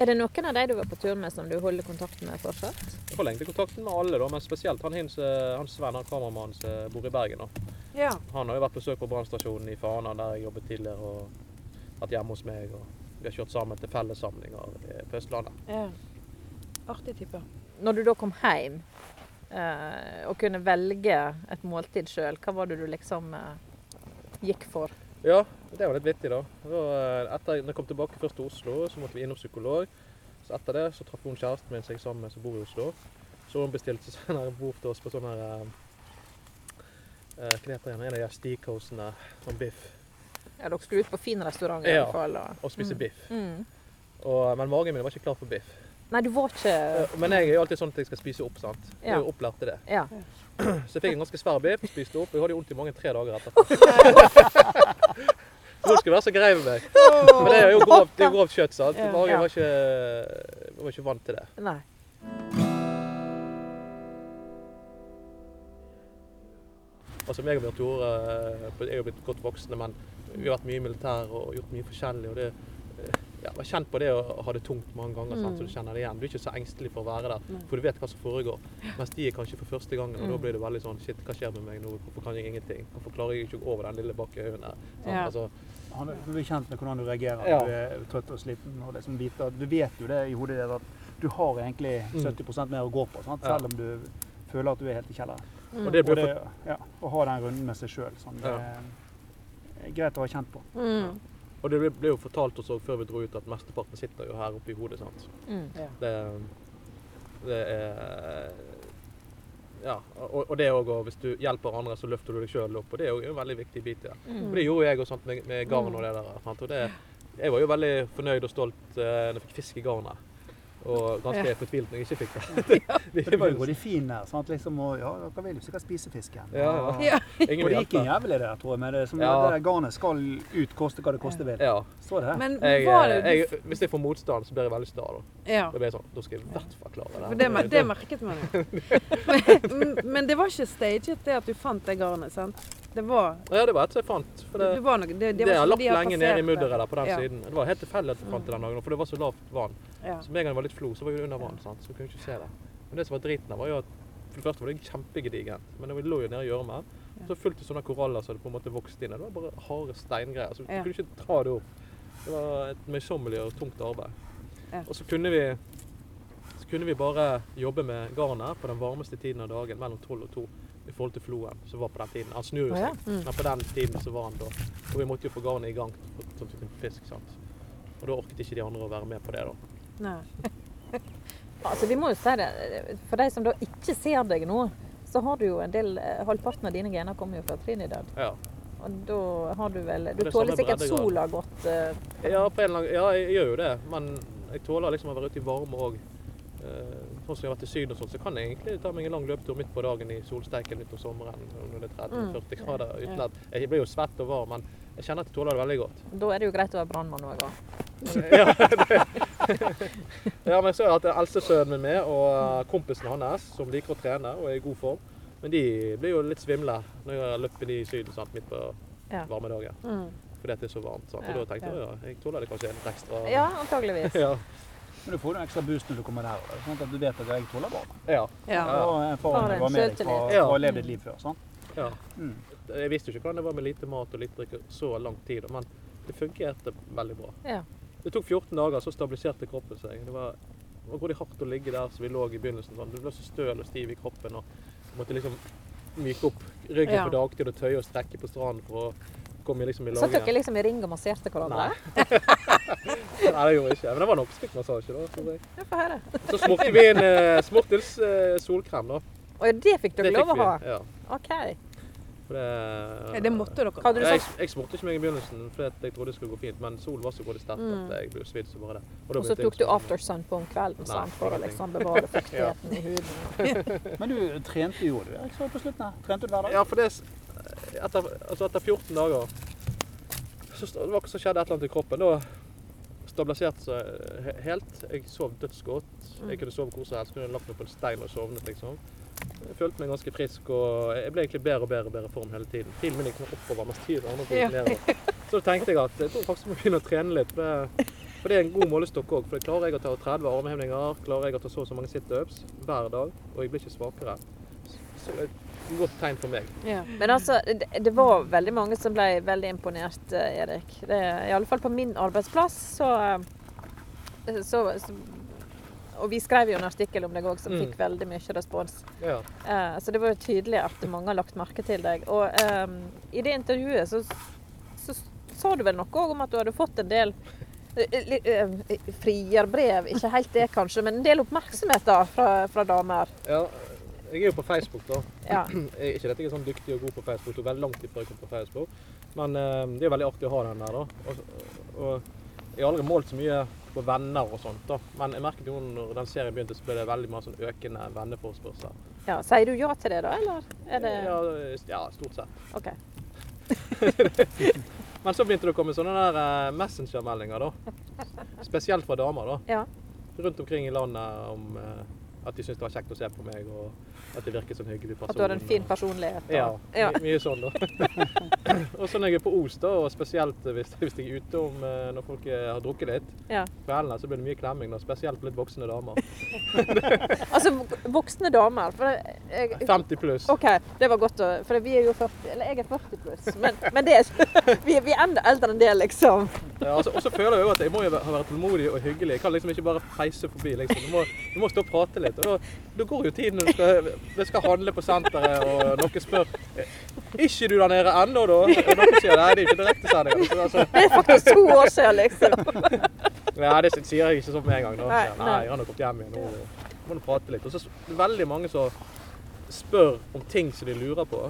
Er det noen av de du var på tur med som du holder kontakten med fortsatt?
Jeg forlengte kontakten med alle, da, men spesielt han, Hins, eh, han Sven, han kameramannen som bor i Bergen. da.
ja.
Han har jo vært på besøk på brannstasjonen i Fana, der jeg jobbet tidligere, og vært hjemme hos meg. Og vi har kjørt sammen til fellessamlinger eh, på Østlandet.
ja. Artig type.
Når du da kom hjem eh, og kunne velge et måltid sjøl, hva var det du liksom eh, gikk for?
Ja, det var litt vittig, da. Det var, eh, Etter når jeg kom tilbake først til Oslo, så måtte vi innom psykolog. Så etter det så traff hun kjæresten min seg sammen med, som bor i Oslo. Så hun bestilte seg sånn her bord til oss på sånn her eh, eh, Hva heter det igjen? En av de her steakhosene. Sånn biff.
Ja, dere skulle ut på fin restaurant i
Ja.
alle fall. Og,
Og spise biff.
mm.
Og, eh, men magen min var ikke klar for biff.
Nei, du var ikke
Eh, Men jeg er jo alltid sånn at jeg skal spise opp, sant. Jeg er jo opplært til det.
Ja.
Så jeg fikk en ganske svær biff, spiste opp, og jeg hadde vondt i magen tre dager etterpå. Så Nå skal du være så grei med meg. Men det er jo grovt, det er jo grovt kjøtt, sant.
Ja.
Magen var ikke, var ikke vant til det.
Nei.
Altså, meg og Bjørn Tore eh, er jo blitt godt voksne, men vi har vært mye i militær og gjort mye forskjellig. og det eh, ja, jeg har kjent på det å ha det tungt mange ganger, sant?
Mm.
så du kjenner det igjen. Du er ikke så engstelig for å være der, for du vet hva som foregår. Mens de er kanskje for første gangen,
Mm.
og da blir det veldig sånn Shit, hva skjer med meg nå? Hvorfor kan jeg ingenting? Hvorfor klarer jeg ikke å gå over den lille bakkehaugen der? Sant?
Ja.
Altså,
Han er, du er kjent med hvordan du reagerer
Ja.
når du er trøtt og sliten. og liksom biter. Du vet jo det i hodet ditt at du har egentlig 70 mer å gå på, sant?
Mm. Ja.
selv om du føler at du er helt i kjelleren.
Mm.
og det
Og
blir
det,
for,
ja, å ha den runden med seg sjøl. Sånn, det er greit å ha kjent på.
Mm.
og det ble- ble jo fortalt oss òg før vi dro ut, at mesteparten sitter jo her oppe i hodet. sant?
Mm.
Det, det er Ja. Og, og det òg, og hvis du hjelper andre, så løfter du deg sjøl opp. Og det er jo en veldig viktig bit i det. Og det gjorde jeg og sånt med, med garn og det der. Sant? Og det, jeg var jo veldig fornøyd og stolt eh, når jeg fikk fisk i garnet. Og ganske fortvilt når jeg ikke fikk det. det.
Det var jo de fine der. sant? Liksom, og, ja, dere vil jo sikkert spise fisken.
ja, ja. Ingen
Og det
vil
gikk
hjelpe.
en jævel i det, der, tror jeg. Men det, er som
Ja.
det der garnet skal ut, koste hva det koste vil.
Ja.
Så det her.
Men
Jeg,
var det
eh, jeg, hvis jeg får motstand, så blir jeg veldig sta. Da.
Ja.
da blir jeg sånn Da skal jeg i hvert fall klare
For det, mer- det merket man jo. Men, men det var ikke staged, det at du fant det garnet, sant? Det var,
Ja, det var et som jeg fant. For det,
det var noe Det,
Det,
det var
har
ikke
lagt
fordi jeg
lenge nede i
passerte.
mudderet der på den
Ja.
siden. Det var helt tilfeldig at vi fant det den dagen, for det var så lavt vann.
Ja.
Så med en gang det var litt flo, så var det under vann, sant? så vi kunne ikke se det. Men det som var driten der, var jo at for det første var det kjempegedigent, men det lå jo nede i gjørmen. Og Så fulgte sånne koraller som hadde på en måte vokst inn. og Det var bare harde steingreier, så du
Ja.
kunne ikke dra det opp. Det var et møysommelig og tungt arbeid.
Ja.
Og så kunne vi så kunne vi bare jobbe med garnet på den varmeste tiden av dagen, mellom 12 og 2, i forhold til floen som var på den tiden. Han snur jo
Å, ja.
seg,
Mm,
men på den tiden så var han da. Og vi måtte jo få garnet i gang, sånn at vi kunne få fisk. sant? Og da orket ikke de andre å være med på det, da.
Nei.
Altså, vi må jo si det, For de som da ikke ser deg nå, så har du jo en del eh, Halvparten av dine gener kommer jo fra Trinidad.
Ja.
Og da har du vel Du
det er
tåler
samme
sikkert
breddegrad.
sola godt. eh,
Ja, på en eller annen, ja, jeg gjør jo det, men jeg tåler liksom å være ute i varme òg. Sånn som jeg har vært i Syden og sånn, så kan jeg egentlig ta meg en lang løpetur midt på dagen i solsteiken midt om sommeren når det er 30-40 grader utenlands. Jeg blir jo svett og varm, men jeg kjenner at jeg tåler det veldig godt.
Da er det jo greit å være brannmann òg.
Ja, men jeg ser at det er eldstesønnen min med, og eh, kompisen hans, som liker å trene og er i god form. Men de blir jo litt svimle når jeg løper de i Syden sant, midt på
Ja.
varme dager. Fordi at det er så varmt. Sant? Og da tenkte jeg ja, jeg tåler det kanskje litt ekstra.
Ja, antageligvis.
Ja.
Men du får jo en ekstra boost når du kommer der. Sånn at du vet at jeg tåler varme.
Ja.
Ja.
Ja.
Og erfaringen du har med deg fra
Ja.
fra å ha levd et liv før. sant?
ja.
Mm.
Jeg visste jo ikke hvordan det var med lite mat og lite drikke så lang tid, men det fungerte veldig bra.
Ja.
Det tok 14 dager, så stabiliserte kroppen seg. Det var det var grådig hardt å ligge der som vi lå i begynnelsen. Sånn. Du ble så støl og stiv i kroppen og måtte liksom myke opp ryggen
Ja.
på dagtid og tøye og strekke på stranden for å komme liksom i
Satt
lag
dere
igjen.
liksom i ring og masserte hverandre?
Nei. Nei, det gjorde jeg ikke. Men det var en oppskriftmassasje, da. tror jeg.
Ja, få høre.
Så smurte vi inn eh, Smurtils eh, solkrem, da.
Og ja, det fikk dere
Det
lov
fikk
å
vi.
ha?
Ja.
OK.
For det,
Ja, det måtte dere.
Hadde du
jeg,
sagt
jeg smurte ikke meg i begynnelsen, for jeg trodde det skulle gå fint. Men solen var så grådig sterk at jeg ble svidd som bare det. da
Mm. Og så
begynte jeg å
tok du
smøre meg.
aftersun på om kvelden
Nei,
sant, for å
ingenting.
liksom bevare fuktigheten i huden?
Men du trente jo, du Erik, så på slutten her. Trente du hver dag?
Ja, for det er s- etter, altså etter 14 dager så, st- det var, så skjedde et eller annet i kroppen. Da stabiliserte seg eh, he- helt. Jeg sov dødsgodt. Jeg kunne sove hvor som helst. Kunne lagt meg på en stein og sovnet, liksom. Jeg følte meg ganske frisk, og jeg ble egentlig bedre og bedre og bedre form hele tiden. Pilen min gikk nå oppover, mens tiden andre gikk nedover. Så da tenkte jeg at jeg tror faktisk jeg må begynne å trene litt. For det, for det er en god målestokk òg. For det klarer jeg å ta 30 armhevninger, klarer jeg å ta så og så mange situps hver dag, og jeg blir ikke svakere. Så det er et godt tegn for meg.
Ja.
Men altså, det, det var veldig mange som ble veldig imponert, eh, Erik. Det, I alle fall på min arbeidsplass, så, eh, så, så Og vi skrev jo en artikkel om deg òg, som
Mm.
fikk veldig mye respons.
Ja.
Eh, så det var jo tydelig at mange har lagt merke til deg. Og eh, i det intervjuet så, så sa du vel noe òg om at du hadde fått en del eh, li- eh, Frierbrev, ikke helt det kanskje, men en del oppmerksomhet da fra, fra damer.
ja. Jeg er jo på Facebook, da.
Ja.
Jeg, ikke at jeg er sånn dyktig og god på Facebook, det tok veldig lang tid før jeg kom på Facebook. Men eh, det er veldig artig å ha den der, da. Og, og jeg har aldri målt så mye på venner og sånt, da. Men jeg merket jo når den serien begynte, så ble det veldig mye sånn økende venneforespørsler.
ja. Sier du ja til det, da, eller? Er det
Ja, ja, stort sett.
OK.
Men så begynte det å komme sånne der eh, messengermeldinger, da. Spesielt fra damer, da.
Ja.
Rundt omkring i landet om eh, at de syntes det var kjekt å se på meg, og at jeg virket som en hyggelig person.
At du har en fin
og-
personlighet. og-
Ja,
ja.
My, mye sånn da. og så når jeg er på Os, da, og spesielt hvis, hvis jeg er ute om eh, når folk eh, har drukket litt,
Ja.
kveldene, så blir det mye klemming, da, spesielt på litt voksne damer.
Altså vok- voksne damer. For jeg,
50 pluss.
OK, det var godt å For vi er jo 40 Eller jeg er 40 pluss, men, men det er, vi, er- vi er enda eldre enn det, liksom.
Ja, altså, og så føler jeg jo at jeg må jo være- ha vært tålmodig og hyggelig. Jeg kan liksom ikke bare peise forbi. liksom. Du må, du må stå og prate litt. og Da, da går jo tiden når du skal, du skal handle på senteret, og noen spør «Er ikke du der nede ennå, da? Og noen sier nei, det er ikke direktesending. Så Altså,
Det er faktisk to år siden, liksom.
Nei, det sier jeg ikke sånn med en gang. Da.
Nei,
Nei,
nei.
han har kommet hjem igjen. Nå må du prate litt. Og så er det veldig mange som spør om ting som de lurer på.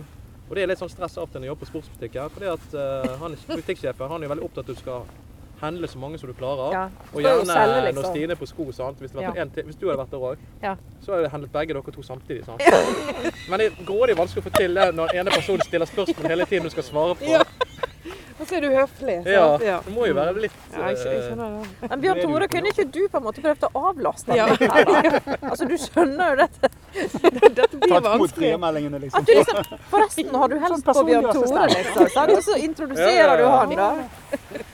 Og det er litt sånn stress av og til når jeg jobber på sportsbutikken. Fordi at eh, han er butikksjefen han er jo veldig opptatt av at du skal handle så mange som du klarer.
Ja,
og
du skal jo
gjerne
selge,
når
liksom.
Stine er på sko, sant? Hvis, det var
Ja.
en til, hvis du hadde vært der òg,
Ja.
så hadde jeg handlet begge dere to samtidig. sant? Men det er grådig vanskelig å få til det når ene person stiller spørsmål hele tiden du skal svare på.
Ja. Og så er du høflig.
Ja,
sant? Ja.
Det må jo være litt
Ja, jeg, skj- jeg
eh,
skjønner det.
Men Bjørn
Det er du
Tore,
på
kunne
jobb.
ikke du på en måte prøvd å avlaste
Ja.
ham litt her? da? Altså, du skjønner jo dette.
Dette blir
Tatt imot
vanskelig.
friemeldingene,
At
liksom.
du liksom Forresten, har du helst på
Sånn personlig
Bjørn Tore, liksom? Sant? Og så
Ja, ja,
introduserer du
ja.
han, da.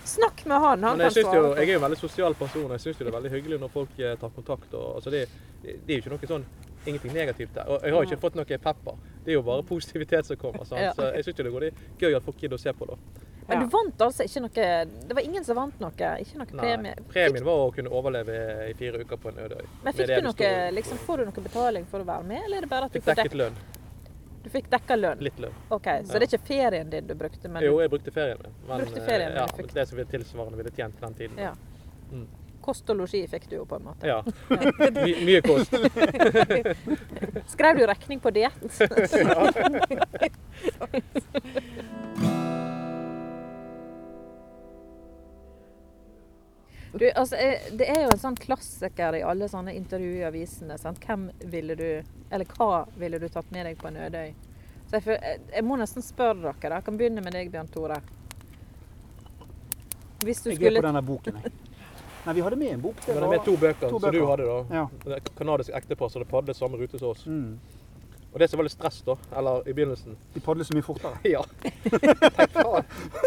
Snakk med han, han
Men
kan
jeg, synes jo,
svare.
jeg er jo en veldig sosial person, og jeg syns det er veldig hyggelig når folk eh, tar kontakt. Og, altså det, det er jo ikke noe sånn ingenting negativt der. Og jeg har jo ikke fått noe pepper. Det er jo bare positivitet som kommer. Sant?
Ja.
Så jeg syns det går gøy at folk gidder å se på, da.
Men du vant altså ikke noe Det var ingen som vant noe? Ikke noe
Nei,
premie?
premien var å kunne overleve i fire uker på en øde øy.
Men fikk
Med det
du noe,
står i.
liksom, får du noe betaling for å være med, eller er det bare at du
Fikk
får
dekket
dekket,
lønn.
du fikk dekket lønn?
Litt lønn.
Ok, Så det er ikke ferien din du brukte, men
Jo, jeg brukte ferien min.
Brukte ferien,
eh, ja,
men du fikk-
det som vi tilsvarende ville tjent på den tiden.
Ja.
Mm.
kost og losji fikk du jo, på en måte.
Ja. My, mye kost.
Skrev du regning på diett? Du, altså, eh, det er jo en sånn klassiker i alle sånne intervju i avisene. Sant? Hvem ville du, eller hva ville du tatt med deg på en ødøy? Så jeg, føl- eh, jeg må nesten spørre dere. da. Jeg kan begynne med deg, Bjørn Tore. Hvis du
Jeg er på
skulle
denne boken, jeg. Nei, vi hadde med en bok.
Men med to bøker,
To
som du
bøker.
hadde, da.
Ja.
Kanadisk ektepar som hadde padlet samme rute som oss.
Mm.
Og det som var litt stress da, eller i begynnelsen
De padler så mye fortere.
Ja. Tenk faen.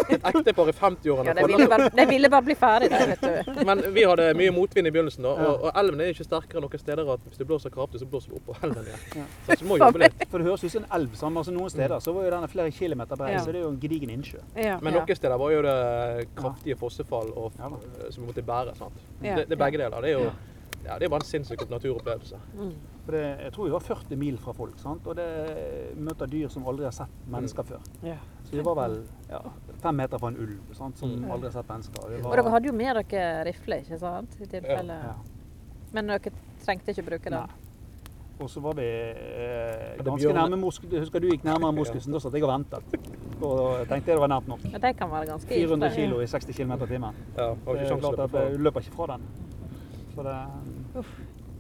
Et ektepar i 50-årene.
Ja, de ville, bare, de ville bare bli ferdig der, vet du.
Men vi hadde mye motvind i begynnelsen, da, og, og elven er ikke sterkere noen steder. at Hvis det blåser kraftig, så blåser det opp på elven igjen. Så vi må jobbe litt.
For det høres ut som en elv. sant? Altså, noen
Mm.
steder så var jo denne flere kilometer brei,
Ja.
så det er jo en gedigen innsjø.
Ja.
Men
ja.
noen steder var jo det kraftige fossefall og, eh,
Ja da.
som vi måtte bære. sant?
Ja.
Det, det er begge deler. Det er jo ja, det er bare en sinnssyk naturopplevelse.
For det, jeg tror vi var 40 mil fra folk, sant? og det møter dyr som aldri har sett
Mm.
mennesker før.
Ja.
Så vi var vel ja, fem meter fra en ulv sant? som
Mm.
aldri har sett mennesker. Og vi
Og
var,
dere hadde jo med dere rifle, ikke sant? I tilfelle.
Ja.
Men dere trengte ikke bruke den.
Nei. Og så var vi eh,
Hadde
ganske
bjørn-
nærme moskusen. Husker du gikk nærmere moskusen? Da satt jeg og ventet. Og tenkte det var nært nok.
Ja, de kan være ganske
400
gifte.
kilo i 60 km i timen.
Ja, har
Det
ikke
er
sjans til å
klart
løpe
at
fra.
eh, du løper ikke fra den. Så det,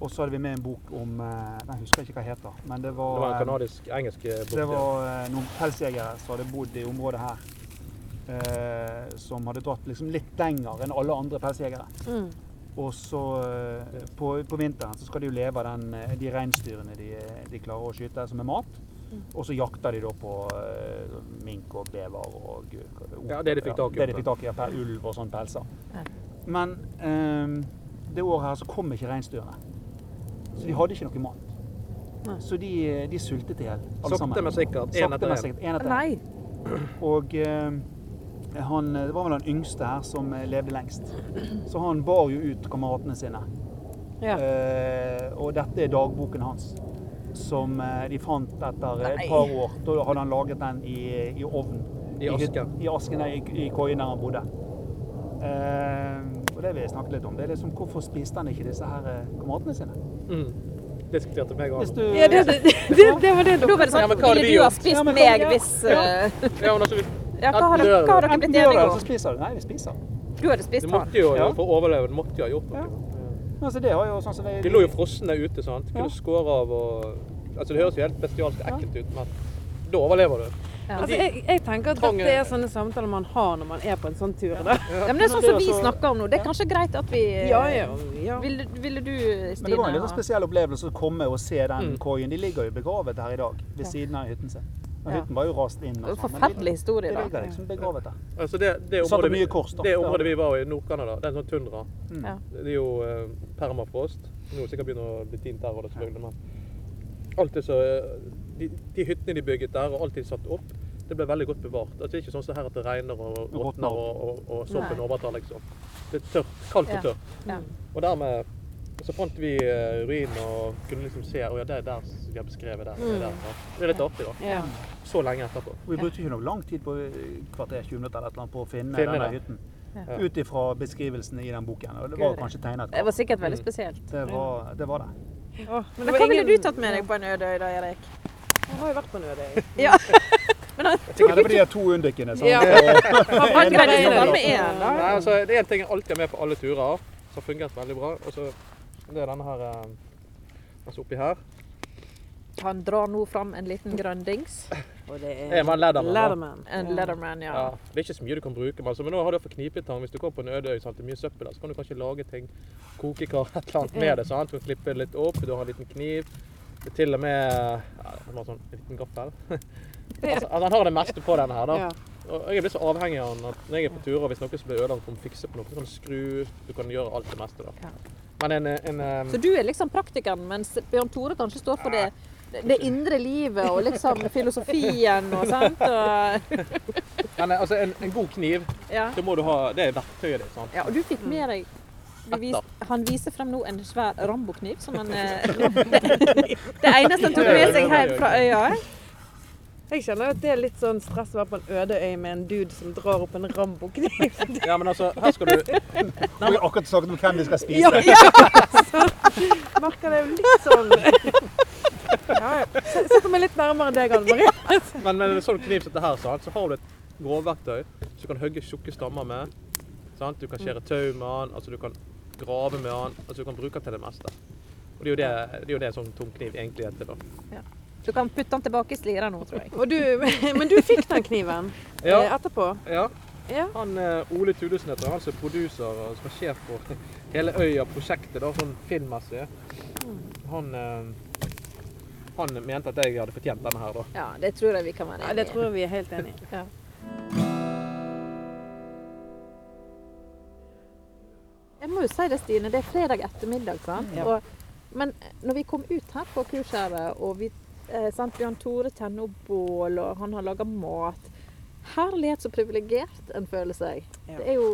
og så hadde vi med en bok om eh, Nei, jeg husker ikke hva den heter. Men det
Det
var,
var en
eh,
kanadisk-engelsk bok.
det var eh, noen pelsjegere som hadde bodd i området her. Eh, som hadde dratt liksom litt lenger enn alle andre pelsjegere.
Mm.
Og så eh, på, på vinteren så skal de jo leve av den, eh, de reinsdyrene de, eh, de klarer å skyte som er mat. Og så jakter de da på eh, mink og bever og
Ja, det de fikk tak i.
Det de fikk tak i, ja, per ulv og sånn pelser. Men eh, det året her så kom ikke reinsdyrene. Så de hadde ikke noe mat. Så de, eh, de sultet i hjel, alle
Sakte, men sikkert. Én
Sakte,
etter
men
én.
sikkert. En etter en.
Nei.
Og eh, han, det var vel han yngste her som eh, levde lengst. Så han bar jo ut kameratene sine.
Ja.
Eh, og dette er dagboken hans, som eh, de fant etter eh, et par år. Da hadde han laget den i, i ovnen.
I
hyt-
asken.
I asken der, i, i koien der han bodde. Eh, og det vil jeg snakke litt om. Det er liksom, hvorfor spiste han ikke disse her eh, kameratene sine?
Mm. Diskuterte meg og
Hvis
han.
du,
Ja, det, det, det, det var det dere var det
Ja,
sånn,
men hva hadde
Ville
vi
du ha
gjort?
spist
Ja, men hva-
meg
ja.
hvis eh,
Ja, men altså, vi-
Ja, hva har
Enten
dere,
gjør
hva har
det.
dere
enten
blitt
gjør det,
enige
eller
om?
så spiser du. Nei, vi spiser.
Du hadde
du
spist han.
måtte jo,
Ja.
For å overleve du måtte jo ha gjort
Ja.
noe.
Men Altså, det har jo sånn som jeg-
De lå jo frosne ute. sant? Kunne
Ja.
skåre av og Altså, Det høres jo helt bestialsk ekkelt ut, men da overlever du.
Altså, jeg, jeg tenker at
Trangen-
dette er sånne samtaler man har når man er på en sånn tur. Da.
Ja, men det er sånn som vi
altså-
snakker om nå. Det er kanskje greit at vi eh,
Ja, ja, ja.
Ville, ville du,
Men det
Stine
var en litt sånn spesiell opplevelse å komme og se den
Mm.
koien. De ligger jo begravet her i dag, ved siden av hytten sin. Men hytten var jo rast inn.
ha
og sånn, men de-
Forferdelig historie,
Det
da.
ligger liksom begravet der.
Altså, det, det,
Satt
området
opp
vi,
mye kors, da.
det området vi var i Nord-Canada, det er en sånn tundra.
Mm.
Ja.
Det er jo eh, permafrost. Nå er det sikkert begynner å bli tint der og det selvfølgelig, men alt det så de, de hyttene de bygget der, og alt de satte opp, det ble veldig godt bevart. Altså, det er ikke sånn som her at det regner og
Råtner.
råtner og, og, og soppen
Nei.
overtar, liksom. Det er tørt. Kaldt og
Ja.
tørt.
Ja.
Og dermed så fant vi eh, ruinene og kunne liksom se Å ja, det er der vi har beskrevet der. Det er,
Mm.
der, sant? det er litt artig, da.
Ja.
Så lenge etterpå.
Vi brukte ikke noe lang tid på eh, kvarter 20 minutter eller et eller annet på å finne,
Finne
denne
det.
hytten.
Ja.
Ut ifra beskrivelsene i den boken. Og det var
Gud.
kanskje tegnet
Det var Mm. sikkert veldig
Mm.
spesielt.
Det var det. Var det.
Åh, men
Men hva ville du tatt med deg på en øde øy da, Erik?
Jeg har jo vært på en øde øy.
Ja. Men han
Sikkert det var de her to unndykkene. sant?
Ja.
Og-
han greide ikke
Ja,
å
ja,
være
ja.
med én, da.
Nei, altså, det er en ting jeg alltid har med på alle turer, som har fungert veldig bra. Og så det er denne her eh, altså oppi her.
Han drar nå fram en liten grøndings.
Og det
Er man Leatherman, da?
Leatherman.
En Leatherman, ja.
Ja. Det er ikke så mye du kan bruke, men, altså, men nå har du iallfall knipetang. Hvis du kommer på en øde øy, sant, det er mye søppel der, så kan du kanskje lage ting, kokekar, et eller annet med det. sant? Du kan klippe det litt opp, du har en liten kniv. Det er til og med ja, det var sånn, en liten gaffel. altså, altså, han har det meste på denne her, da.
Ja.
Og jeg er blitt så avhengig av den at når jeg er på turer, hvis noe som blir ødelagt, kan du fikse på noe. Du kan skru, du kan gjøre alt det meste,
Ja.
da. Men en, en, eh,
Så du er liksom praktikeren, mens Bjørn Tore kanskje står for det, det indre livet og liksom filosofien og sånt. Og,
men, eh, altså, en, en god kniv
ja.
Det må du ha, det er verktøyet ditt. sant?
ja, og du fikk med deg vi vis, Han viser frem nå en svær Rambo-kniv som han eh, Det eneste han tok med seg hjem fra øya.
Jeg kjenner at det er litt sånn stress å være på en øde øy med en dude som drar opp en Rambo-kniv.
Ja, men altså, her skal du
Vi har akkurat snakket om hvem vi skal spise.
Ja, ja. Merker det er litt sånn ja, ja. Sett meg litt nærmere deg, Anne Marie.
Men med en sånn kniv som dette her, sant, så har du et grovverktøy som du kan hogge tjukke stammer med. Sant? Du kan skjære tau med den, altså du kan grave med den. Altså du kan bruke den til det meste. Og det er jo det, det, er jo det en sånn tung kniv egentlig er til. da.
Du kan putte han tilbake i slira nå, tror jeg.
Og du, men du fikk den kniven
Ja,
eh, etterpå?
ja.
Ja.
Han eh, Ole Tudesen heter han, som er produser og som er sjef for hele øya-prosjektet, da, sånn filmmessig. Han, eh, han mente at jeg hadde fortjent denne her, da.
Ja, det tror jeg vi kan være
Ja,
enige
det
i.
tror jeg vi er helt enige i.
Ja. Jeg må jo si det, Stine. Det er fredag ettermiddag. sant?
Ja.
Og, men når vi kom ut her på kurskjæret, og vi, eh, sant, Bjørn Tore tenner opp bål, og han har laga mat Herlighet, så privilegert en føler seg.
Ja.
Det er jo,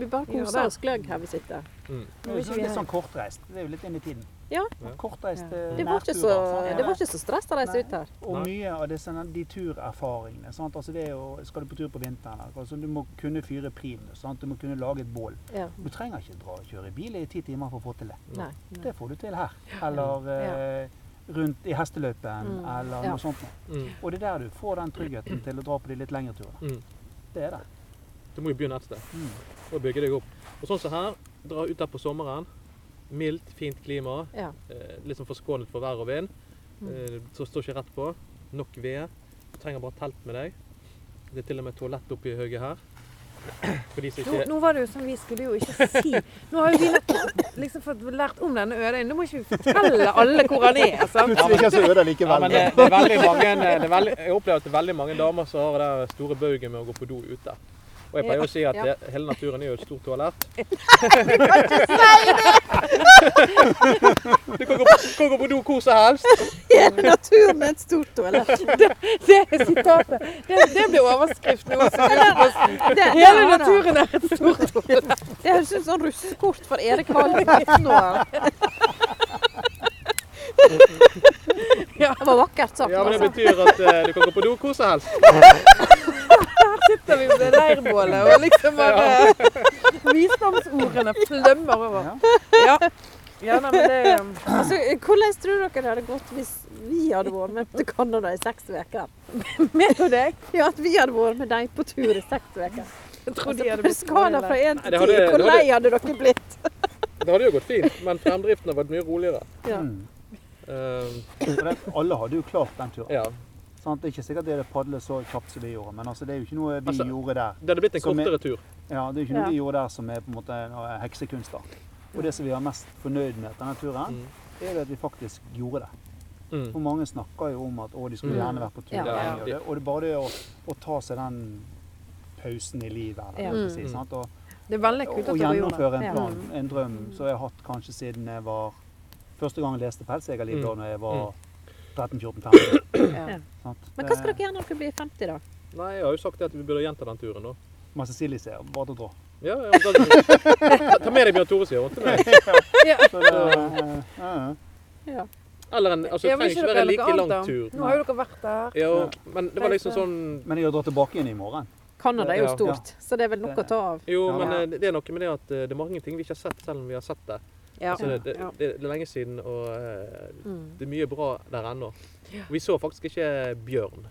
Vi bare
Ja,
koser
da.
oss gløgg her vi sitter.
Det er jo sånn- litt sånn kortreist. Det er jo litt inn i tiden.
Ja.
Ja.
Kortreist eh, sånn.
Det var ikke
nærturer,
så,
sant?
det var ikke så stress å reise ut her.
Og
Nei.
mye av disse, de turerfaringene. Sant? Altså det er jo, skal du på tur på vinteren, altså du må kunne fyre prim. Sant? Du må kunne lage et bål.
Ja.
Du trenger ikke dra og kjøre bil i ti timer for å få til det.
Nei.
Det får du til her. Eller eh, rundt i hesteløypen, eller
Ja.
noe sånt.
Mm.
Og det er der du får den tryggheten til å dra på de litt lengre turene.
Mm.
Det er det.
Du må jo begynne et sted
Mm.
og bygge deg opp. Og sånn som her, dra ut der på sommeren. Mildt, fint klima.
Ja.
Eh, litt sånn forskånet for vær og vind. Eh, så står ikke rett på. Nok ved. Du trenger bare telt med deg. Det er til og med toalett oppi høyet her. For de som
Nå,
ikke
nå var det jo som vi skulle jo ikke si. Nå har jo vi nettopp liksom fått lært om denne ødøyen. Nå må ikke vi fortelle alle hvor han er. altså. sant?
Plutselig ikke så øde
ja,
likevel.
men det, det er veldig mange, eh, det er veldig, jeg opplever at det er veldig mange damer som har det der store bauget med å gå på do ute. Og jeg pleier å si at det, hele naturen er jo et stort toalett. Du kan ikke si det! Du kan gå på, du kan gå på do hvor som helst.
Hele naturen er et stort toalett.
Det er sitatet. Det, det blir overskriften. nå.
Det- det
Hele
var det.
naturen er et stort
Det høres ut som russekort for Erik Hall 15 år.
Ja.
Det var vakkert sagt.
Ja, men
altså.
Det betyr at eh, du kan gå på do hvor som helst.
sitter vi ved leirbålet og liksom bare Visdomsordene flømmer over. Ja. Ja, nei, men det
altså, hvordan tror dere det hadde gått hvis vi hadde vært med til Canada i seks uker?
Meg og deg.
Ja, at vi hadde vært med deg på tur i seks uker.
Jeg tror de hadde
Altså, på
blitt
skala fra én
Nei,
til
det
ti,
hadde-
hvor
det hadde-
lei hadde dere blitt?
Det hadde jo gått fint, men fremdriften har vært mye roligere.
Ja.
Mm.
Eh,
For det, alle hadde jo klart den turen.
ja.
Sant? Det er ikke sikkert det padlet så kjapt som vi gjorde, men altså, det er jo ikke noe vi
Altså,
gjorde der.
Det hadde blitt en
Som er-
kortere tur.
Ja, det er jo ikke noe
Ja.
vi gjorde der som er på en måte en eh, heksekunst. da. Og det som vi er mest fornøyd med etter denne turen,
Mm.
er det at vi faktisk gjorde det.
Mm.
For mange snakker jo om at å, de skulle
Mm.
gjerne vært på tur.
Ja.
lenge,
Ja.
Og, det, og det er bare det å, å ta seg den pausen i livet, eller
Ja.
hva man skal
Mm.
si. sant? Og,
Det er veldig
og,
kult at
og
dere gjorde det.
gjennomføre en
Ja.
plan, en drøm, som jeg har hatt kanskje siden jeg var Første gang jeg leste Pelsjegerliv, da
Mm.
når jeg var 13-14-15.
Ja.
sant?
Men hva skal
Det-
dere gjøre når dere blir 50, da?
Nei, jeg har jo sagt det at vi burde gjenta den turen, da.
Men Cecilie sier bare til å dra.
Ja, ja, men da, ta med deg Bjørn Tore, sier hun til meg.
Så det, eh, ja, ja.
Eller en, altså, det
Ja, men ikke
trenger ikke
dere
være en like
noe
lang
annet, da?
tur.
Nå har jo dere vært der.
Ja, men det var liksom sånn
Men jeg drar tilbake igjen i morgen.
Canada er
Ja.
jo stort, så det er vel nok å ta av.
Jo,
Ja.
men eh, det er noe med det at eh, det er mange ting vi ikke har sett, selv om vi har sett det.
Ja.
Altså, det, det,
Ja.
det er lenge siden, og eh,
Mm,
det er mye bra der ennå. Og Vi så faktisk ikke bjørn.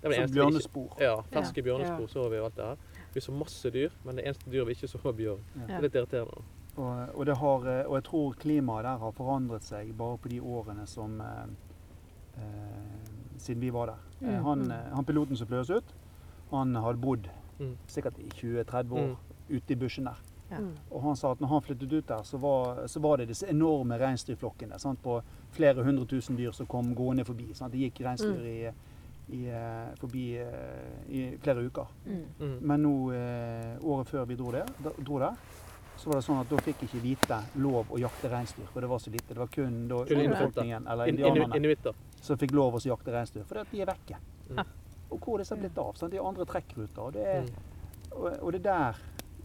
Det var det
Som
eneste vi ikke
bjørnespor.
Ja, ferske bjørnespor
Ja.
så vi og alt det her. Vi så masse dyr, men det eneste dyr vi ikke så, var bjørn. Det er litt irriterende.
Og, og, det har, eh, og jeg tror klimaet der har forandret seg bare på de årene som eh, eh, Siden vi var der. Eh, Han, eh, han piloten som fløy oss ut, han hadde bodd
Mm.
sikkert i 20-30 år
Mm.
ute i bushen der.
Ja.
Og han sa at når han flyttet ut der, så var, så var det disse enorme reinsdyrflokkene sant, på flere hundre tusen dyr som kom gående forbi. Sant? Det gikk reinsdyr i, i, eh, forbi eh, i flere uker.
Mm.
Men nå, eh, året før vi dro, det, da, dro der, så var det sånn at da fikk ikke hvite lov å jakte reinsdyr. For det var så lite. Det var kun da
Kun innfødte.
urbefolkningen, eller
In, inu-
indianerne,
Inuitter.
som fikk lov å jakte reinsdyr. Fordi at de er vekke.
Mm.
Og hvor er disse blitt av? Sant? De er andre trekkruter. Og det, er,
Mm.
og, og det er der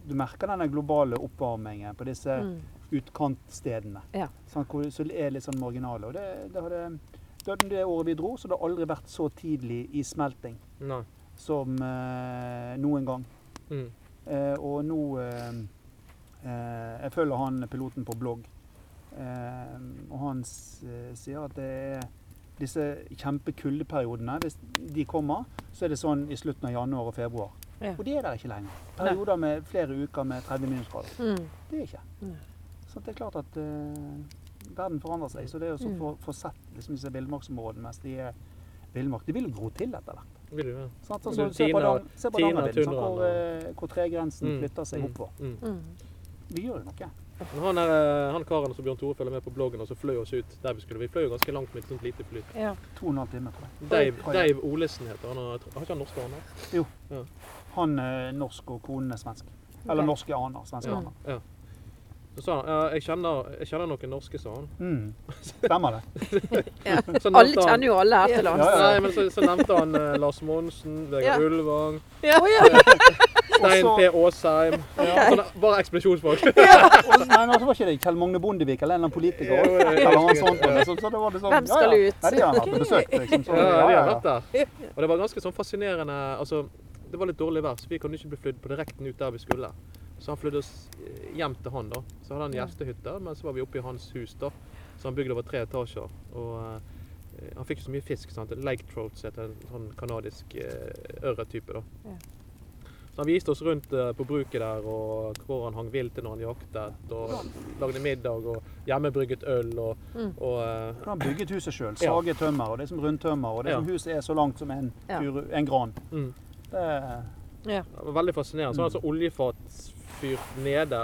du merker denne globale oppvarmingen på disse utkantstedene.
Ja.
Sant? Hvor, så det er litt sånn marginale. Og det, det hadde det, det året vi dro, så det har aldri vært så tidlig i smelting
Nei.
som eh, noen gang.
Mm.
Eh, og nå eh, eh, Jeg følger han piloten på blogg. Eh, og han s- eh, sier at det er disse kjempekuldeperiodene, hvis de kommer, så er det sånn i slutten av januar og februar.
Ja.
Og det er der ikke lenger. Perioder med flere uker med 30 minusgrader.
Mm.
Det er ikke.
Nei.
Så det er klart at eh, verden forandrer seg. Så det er jo så
Mm.
få få sett liksom, disse villmarksområdene mens de er villmark. De vil jo gro til etter hvert.
Vil du det?
Sant?
Men
Altså,
du
se på
tiner-
Dan- se på
tiner
Hardangervidda, sant,
tundraen
hvor,
og-
eh, hvor tregrensen
Mm,
flytter seg
mm,
oppover.
Mm.
Vi gjør jo noe.
Men han, er, eh, han karen som Bjørn Tore følger med på bloggen, og så fløy oss ut der vi skulle. Vi fløy jo ganske langt med et sånt lite fly.
To og en halv time, tror jeg.
Dave,
Oi.
Dave Olesen heter han. og jeg tror- Har ikke han norske aner?
Han er norsk, og konen er svensk. Eller
Ok.
norske aner. Svenske
Mm.
Ja.
aner.
ja. Så sa han ja, jeg kjenner, jeg kjenner noen norske, sa han.
Mm. Stemmer det.
Så
Alle
nevnte han-
kjenner jo alle her til
Ja,
lands.
ja.
Nei, men så, så nevnte han eh, Lars Monsen, Vegard Ulvang,
Og
Stein
så-
P. Aasheim. Sånne, bare ekspedisjonsfolk.
og- Nei, men så var ikke det Kjell Magne Bondevik eller en eller annen politiker
Jo, jo, jo.
eller noe sånt. Så, så det var liksom,
Hvem skal
ja, ja.
ut?
Nei, de har han hatt på besøk. Liksom, så,
Ja, ja, vi har vært der. Og det var ganske sånn fascinerende Altså, det var litt dårlig vær, så vi kunne ikke bli flydd på direkten ut der vi skulle. Så han flydde oss eh, hjem til han, da. Så hadde han gjestehytte, men så var vi oppe i hans hus, da. Så han bygde over tre etasjer. Og eh, han fikk jo så mye fisk. sant? Lake trout, som heter en sånn kanadisk eh, ørrettype, da. Så han viste oss rundt eh, på bruket der, og hvor han hang vilt til når han jaktet. Og lagde middag, og hjemmebrygget øl, og, og eh,
Han har bygget huset sjøl. Saget tømmer, og det er som rundtømmer. Og det er som
Ja.
huset er så langt som en,
Ja.
furu, en gran.
Mm.
Det er
Det var veldig fascinerende. Så var det en sånn oljefatsfyr nede,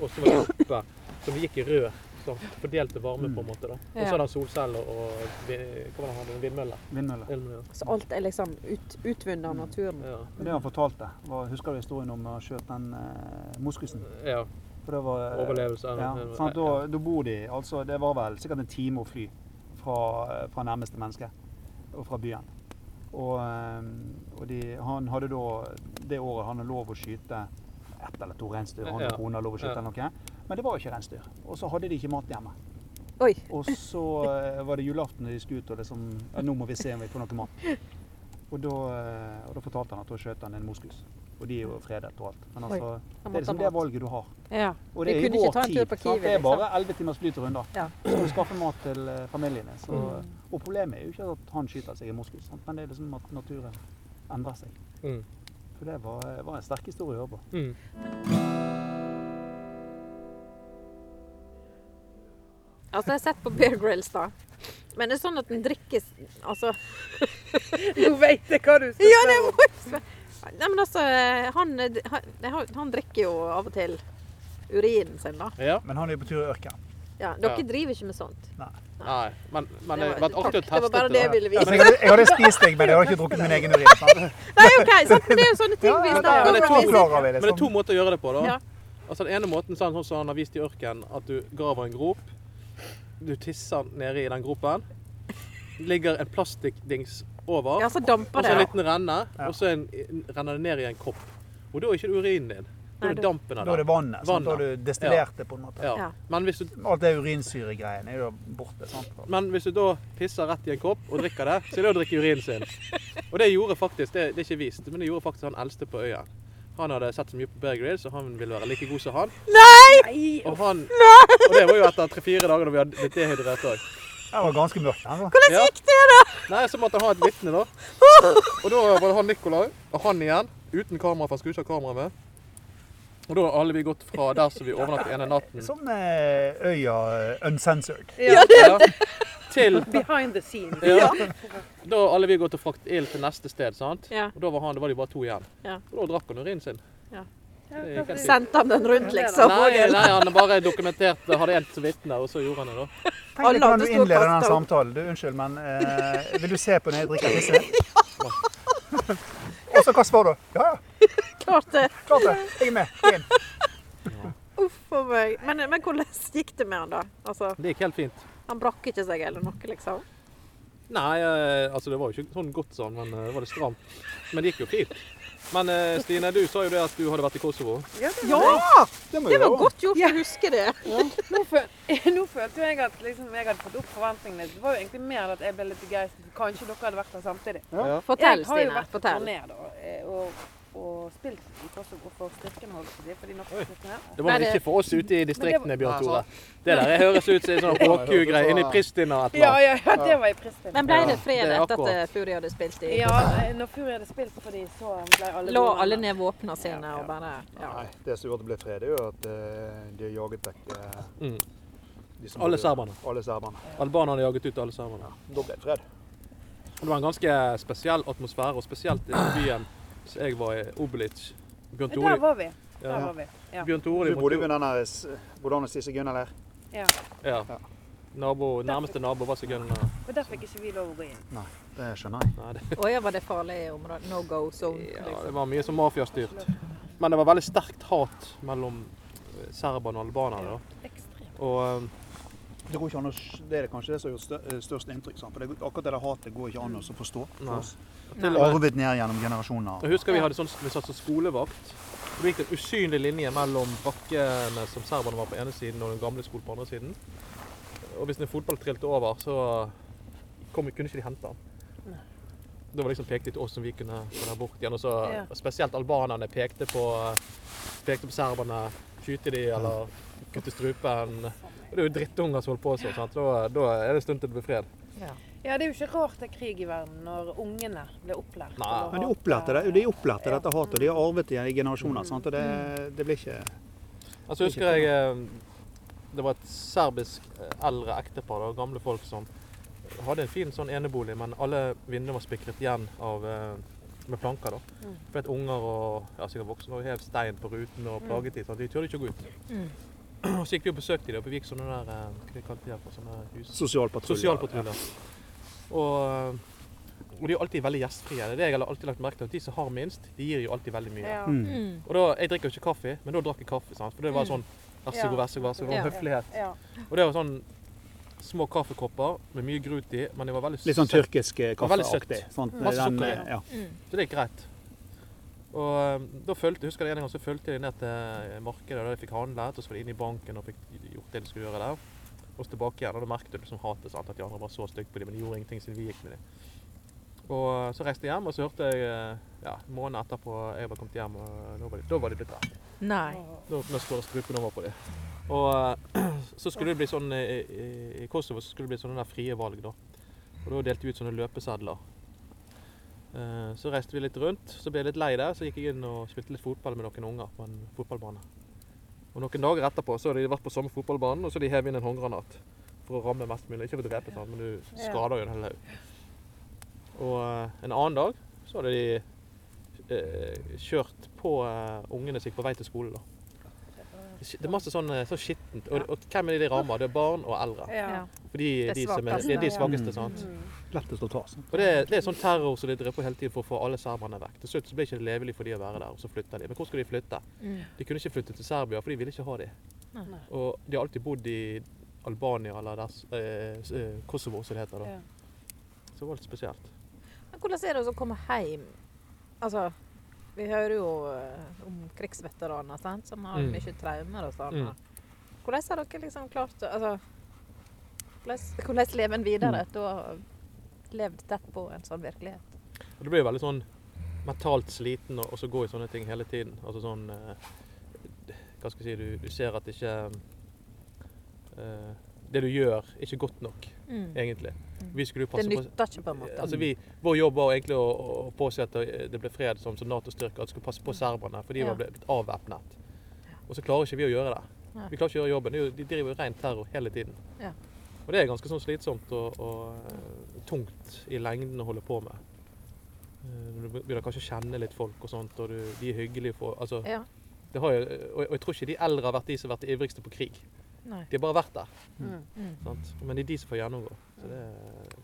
og så var det oppe, som gikk i rød. Så han fordelte varme, på en måte. da. Og så
Ja.
hadde han solceller og vi- hva var det han hadde? vindmøller.
vindmøller.
Elmøller.
Så alt er liksom ut, utvunnet av naturen.
Ja.
Det han fortalte, var, husker du historien om å skjøte den eh, moskusen?
ja.
For det var, eh,
Overlevelse.
Ja,
eh,
sant? Da, da bor de altså, Det var vel sikkert en time å fly fra, eh, fra nærmeste menneske og fra byen. Og, eh, og de, han hadde da det året han hadde lov å skyte ett eller to reinsdyr. Han
Ja.
og kona hadde lov å skyte eller noe. Men det var jo ikke reinsdyr. Og så hadde de ikke mat hjemme.
Oi.
Og så eh, var det julaften da de skulle ut og liksom ja, Nå må vi se om vi får noe mat. Og da, eh, og da fortalte han at da skjøt han en moskus. Og de er jo fredet og alt. Men
Oi.
altså,
Han
det er
måtte ha
liksom det
mat.
valget du har.
Ja.
Og
Vi
det er i
kunne ikke
vår
ta en tur
tid.
på
sant?
Kiwi,
Det er
liksom.
bare 11 timers flytur unna.
Ja. Mm.
Så skal du skaffe mat til eh, familiene. Så, Og problemet er jo ikke at han skyter seg i moskus, sant? men det er liksom at naturen endrer seg.
Mm.
For det var, eh, var en sterk historie å høre på.
Mm.
Altså, jeg har sett på Bear Grylls, da. Men det er sånn at den drikkes Altså Nå vet jeg hva du skal ja, det må jeg spørre Nei, men altså, han, han, han drikker jo av og til urinen sin, da.
ja.
Men han er jo på tur i ørkenen.
Ja, dere
Ja.
driver ikke med sånt.
Nei, men, men det
Det
har
var-
vært artig eh,
takk,
å
det var
teste
bare det jeg
det.
ville vise.
jeg, hadde, spist deg, men jeg hadde ikke drukket min egen urin.
Nei, OK, sant? men det er jo sånne ting vi
men det
snakker
er
om.
to
vi-
vi, liksom.
Men det er to måter å gjøre det på. da.
Ja.
Altså, Den ene måten sånn sånn som han har vist i ørkenen, at du graver en grop. Du tisser nede i den gropen. Ligger en plastikkdings over.
Ja, så damper
Og
det.
så en
ja.
liten renne, og så en, renner det ned i en kopp. Og da er ikke det urinen din. Da
Nei,
er det
da-
dampen av det.
vannet.
sant? Da har du destillert
det, på en måte.
Ja.
Ja.
Men, hvis du,
Alt det urinsyregreiene er jo borte. sant?
men hvis du da pisser rett i en kopp og drikker det, så er det å drikke urinen sin. Og det gjorde faktisk, det, det er ikke vist, men det gjorde faktisk han eldste på øya. Han hadde sett så mye på Bear Grylls, og han ville være like god som han. Nei! Og, han, og det var jo etter tre-fire dager da vi hadde blitt dehydrert òg.
Det var ganske mørkt. Altså.
Hvordan gikk det, da? Nei, Så måtte han ha et vitne, da. Og da var det han Nikolai, og han igjen, uten kamera, for han skulle ikke ha kamera med. Og da har alle vi gått fra der som vi overnattet ene natten,
Som Sånn, eh, øya uncensored.
ja, til
Behind the scenes.
ja. Da har alle vi gått og frakt ild til neste sted, sant?
Ja.
Og da var, han, da var de bare to igjen.
Ja.
Og da drakk han urinen sin.
Ja.
Det gikk helt fint.
Sendte han den rundt, liksom?
Nei, nei, han bare dokumenterte, hadde en som vitne, og så gjorde han det, da.
Tenk
Alle
deg hvordan
andre
du
sto og
innleder
kastet
den
opp.
samtalen. Du, unnskyld, men eh, vil du se på når jeg drikker disse? Og så hva svarer du? Ja, ja,
Klart det.
klart det. Jeg er med. Jeg er med.
Uff a meg. Men, men hvordan gikk det med han, da? Altså,
Det gikk helt fint.
han brakk ikke seg eller noe, liksom?
Nei, eh, altså det var jo ikke sånn godt sånn, men eh, var det stramt. Men det gikk jo fint. Men eh, Stine, du sa jo det at du hadde vært i Kosovo.
Ja!
Det må
Det var
jeg gjøre.
godt gjort å huske det.
Nå, føl nå følte jeg at liksom, jeg hadde fått opp forventningene. Det var jo egentlig mer at jeg ble litt begeistret. Kanskje dere hadde vært der samtidig.
Fortell,
jeg har jo
Stine.
vært på
Fortell.
turné da, eh, og, og spilt i Kosovo for styrken, holdt jeg på å si, for de norske styrkene.
Det var
Nei, det-
ikke for oss ute i distriktene,
Men
Bjørn Tore. Det der jeg høres ut som en sånn HQ-greie inne i Pristina et
Ja,
eller annet.
ja, ja, det var i Pristina.
Men ble det
det
fred
er
etter at
akkurat.
eh, Fury hadde spilt i
Ja, eh, når Fury hadde spilt for de, så ble alle
Lå
gode
alle
venner.
ned våpnene sine og bare ja.
Nei, det som gjorde at det ble fred, er jo at eh, de har jaget vekk eh,
Mm.
de som
Alle
bodde-
serberne.
Alle serberne.
Albanerne jaget ut alle sammen.
Da ble det fred.
Og Det var en ganske spesiell atmosfære, og spesielt i byen som jeg var i, Oblic. Bjørn
Der
Tore
var vi. Der
ja.
var vi. Ja.
Bjørn Tore
Du
de måtte
bodde
jo-
jo ved den der s- Bodde han hos disse Gunnar der?
Ja.
Ja.
Nabo, nærmeste nabo var sigøyner.
Og der fikk ikke vi lov å gå inn.
Det skjønner jeg.
Nei, det,
Åja, var det farlig område? No go zone?
ja, det
Liksom.
var mye som mafiastyrt. Men det var veldig sterkt hat mellom eh, serberne og albanerne. da. Og eh,
Det, går ikke an å, s- det er kanskje det som har gjort stør- størst inntrykk. Sant? For det, akkurat det der hatet går ikke an å forstå. for
Nei.
oss.
til og med
Arvet ned gjennom generasjoner.
Jeg husker vi hadde sånn, vi satt som skolevakt. Det gikk en usynlig linje mellom bakkene som serberne var på ene siden, og den gamle skolen på andre siden. Og hvis en fotball trilte over, så kom, kunne ikke de hente den. Da var det liksom pekt litt oss som vi kunne gå der bort igjen. Og så
Ja.
spesielt albanerne pekte på, pekte på serberne. Skyte de eller kutte strupen. Og det er jo drittunger som holder på sånn. sant? Da, da er det en stund til det blir fred.
Ja, det er jo ikke rart det er krig i verden når ungene blir opplært.
Nei.
eller
Men de
hatet.
opplærte det, de opplærte dette hatet, og de har arvet det i generasjoner. Sant? Og det, det blir ikke
Altså husker jeg eh, det var et serbisk eh, eldre ektepar, da, gamle folk, som hadde en fin sånn enebolig, men alle vinduene var spikret igjen av, eh, med planker. da.
Mm.
For at unger og ja, sikkert voksne og hev stein på ruten og plaget de. sånn, De turte ikke å gå ut.
Mm.
Og Så gikk vi og besøkte de, og vi gikk sånne der, eh, hva de kalte de her for sånne hus?
sosialpatruljer.
Sosialpatruljer. Og, eh, og de er jo alltid veldig gjestfrie. Det er det jeg har alltid lagt merke til, at de som har minst, de gir jo alltid veldig mye.
Ja.
Mm.
Mm.
Og da, Jeg drikker jo ikke kaffe, men da drakk jeg kaffe. sant? For det var sånn Vær så god, vær så god. vær så god,
Ja.
Høflighet.
Ja.
Og det var sånn små kaffekopper med mye grut i, men det var veldig
Litt sånn
søtt,
tyrkisk eh,
Og veldig søtt.
kaffeaktig. sant?
Masse
Den,
sukker i.
eh, ja.
Mm.
så det gikk greit. Og eh, da følte, husker jeg en gang så fulgte jeg ned til markedet, og da jeg fikk handlet, og så var det inn i banken og fikk gjort det de skulle gjøre der. Og så tilbake igjen, og da merket du liksom hatet, sant? at de andre var så stygge på dem, men de gjorde ingenting siden vi gikk med dem. Og eh, så reiste jeg hjem, og så hørte jeg eh, ja, måneden etterpå jeg var kommet hjem, og nå var de, da var de blitt der.
Nei.
Nå nå står det strupenummer på det. Og eh, så skulle det bli sånn eh, i, i Kosovo så skulle det bli sånne der frie valg, da. Og da delte vi ut sånne løpesedler. Eh, Så reiste vi litt rundt, så ble jeg litt lei der, så gikk jeg inn og spilte litt fotball med noen unger på en fotballbane. Og noen dager etterpå så hadde de vært på samme fotballbanen, og så hadde de hevet inn en håndgranat for å ramme mest mulig. Ikke for å drepe, sånn, men du skader jo en hel haug. Og eh, en annen dag så hadde de eh, kjørt på eh, ungene som gikk på vei til skole, da. Det er masse sånn, eh, sånn skittent. Og, og hvem er det de rammer? Det er barn og eldre.
Ja.
Ja.
For de,
Det er
de, som er,
svakeste,
de, er de
ja.
svakeste. sant?
Mm.
Lettest å ta. sant?
Og det, er- det er sånn terror som de driver på hele tiden for å få alle serberne vekk. Til slutt så ble ikke det levelig for de å være der, og så flytta de. Men hvor skulle de flytte?
Mm.
De kunne ikke flytte til Serbia, for de ville ikke ha de.
Nei.
Og de har alltid bodd i Albania eller der, s- eh, s- eh, Kosovo, som det heter da.
Ja.
Så det var litt spesielt.
Men hvordan er det å komme hjem? Altså, vi hører jo eh, om krigsveteraner sant? som har
Mm.
mye traumer og sånn.
Mm.
Hvordan har dere liksom klart å altså, hvordan, hvordan lever en videre
Mm.
etter å ha levd tett på en sånn virkelighet?
Og Du blir jo veldig sånn mentalt sliten og og så gå i sånne ting hele tiden. Altså sånn eh, Hva skal jeg si Du, du ser at ikke eh, Det du gjør, er ikke godt nok,
Mm.
egentlig. Vi skulle jo
Det
passe på
nytter ikke, på en måte.
Altså vi, Vår jobb var jo egentlig å, å å påse at det ble fred som, som Nato-styrker. At vi skulle passe på serberne, for de
Mm. Ja.
var blitt avvæpnet. Og så klarer ikke vi å gjøre det.
Nei.
Vi klarer ikke å gjøre jobben. Det er jo- De driver jo ren terror hele tiden.
Ja.
Og det er ganske sånn slitsomt og, og eh, tungt i lengden å holde på med. Eh, Du begynner kanskje å kjenne litt folk og sånt, og du, de er hyggelige for altså,
Ja.
det har jo, og, og jeg tror ikke de eldre har vært de som har vært de ivrigste på krig.
Nei.
De har bare vært der.
Mm.
Mm.
Sant? Men det er de som får gjennomgå. Så det,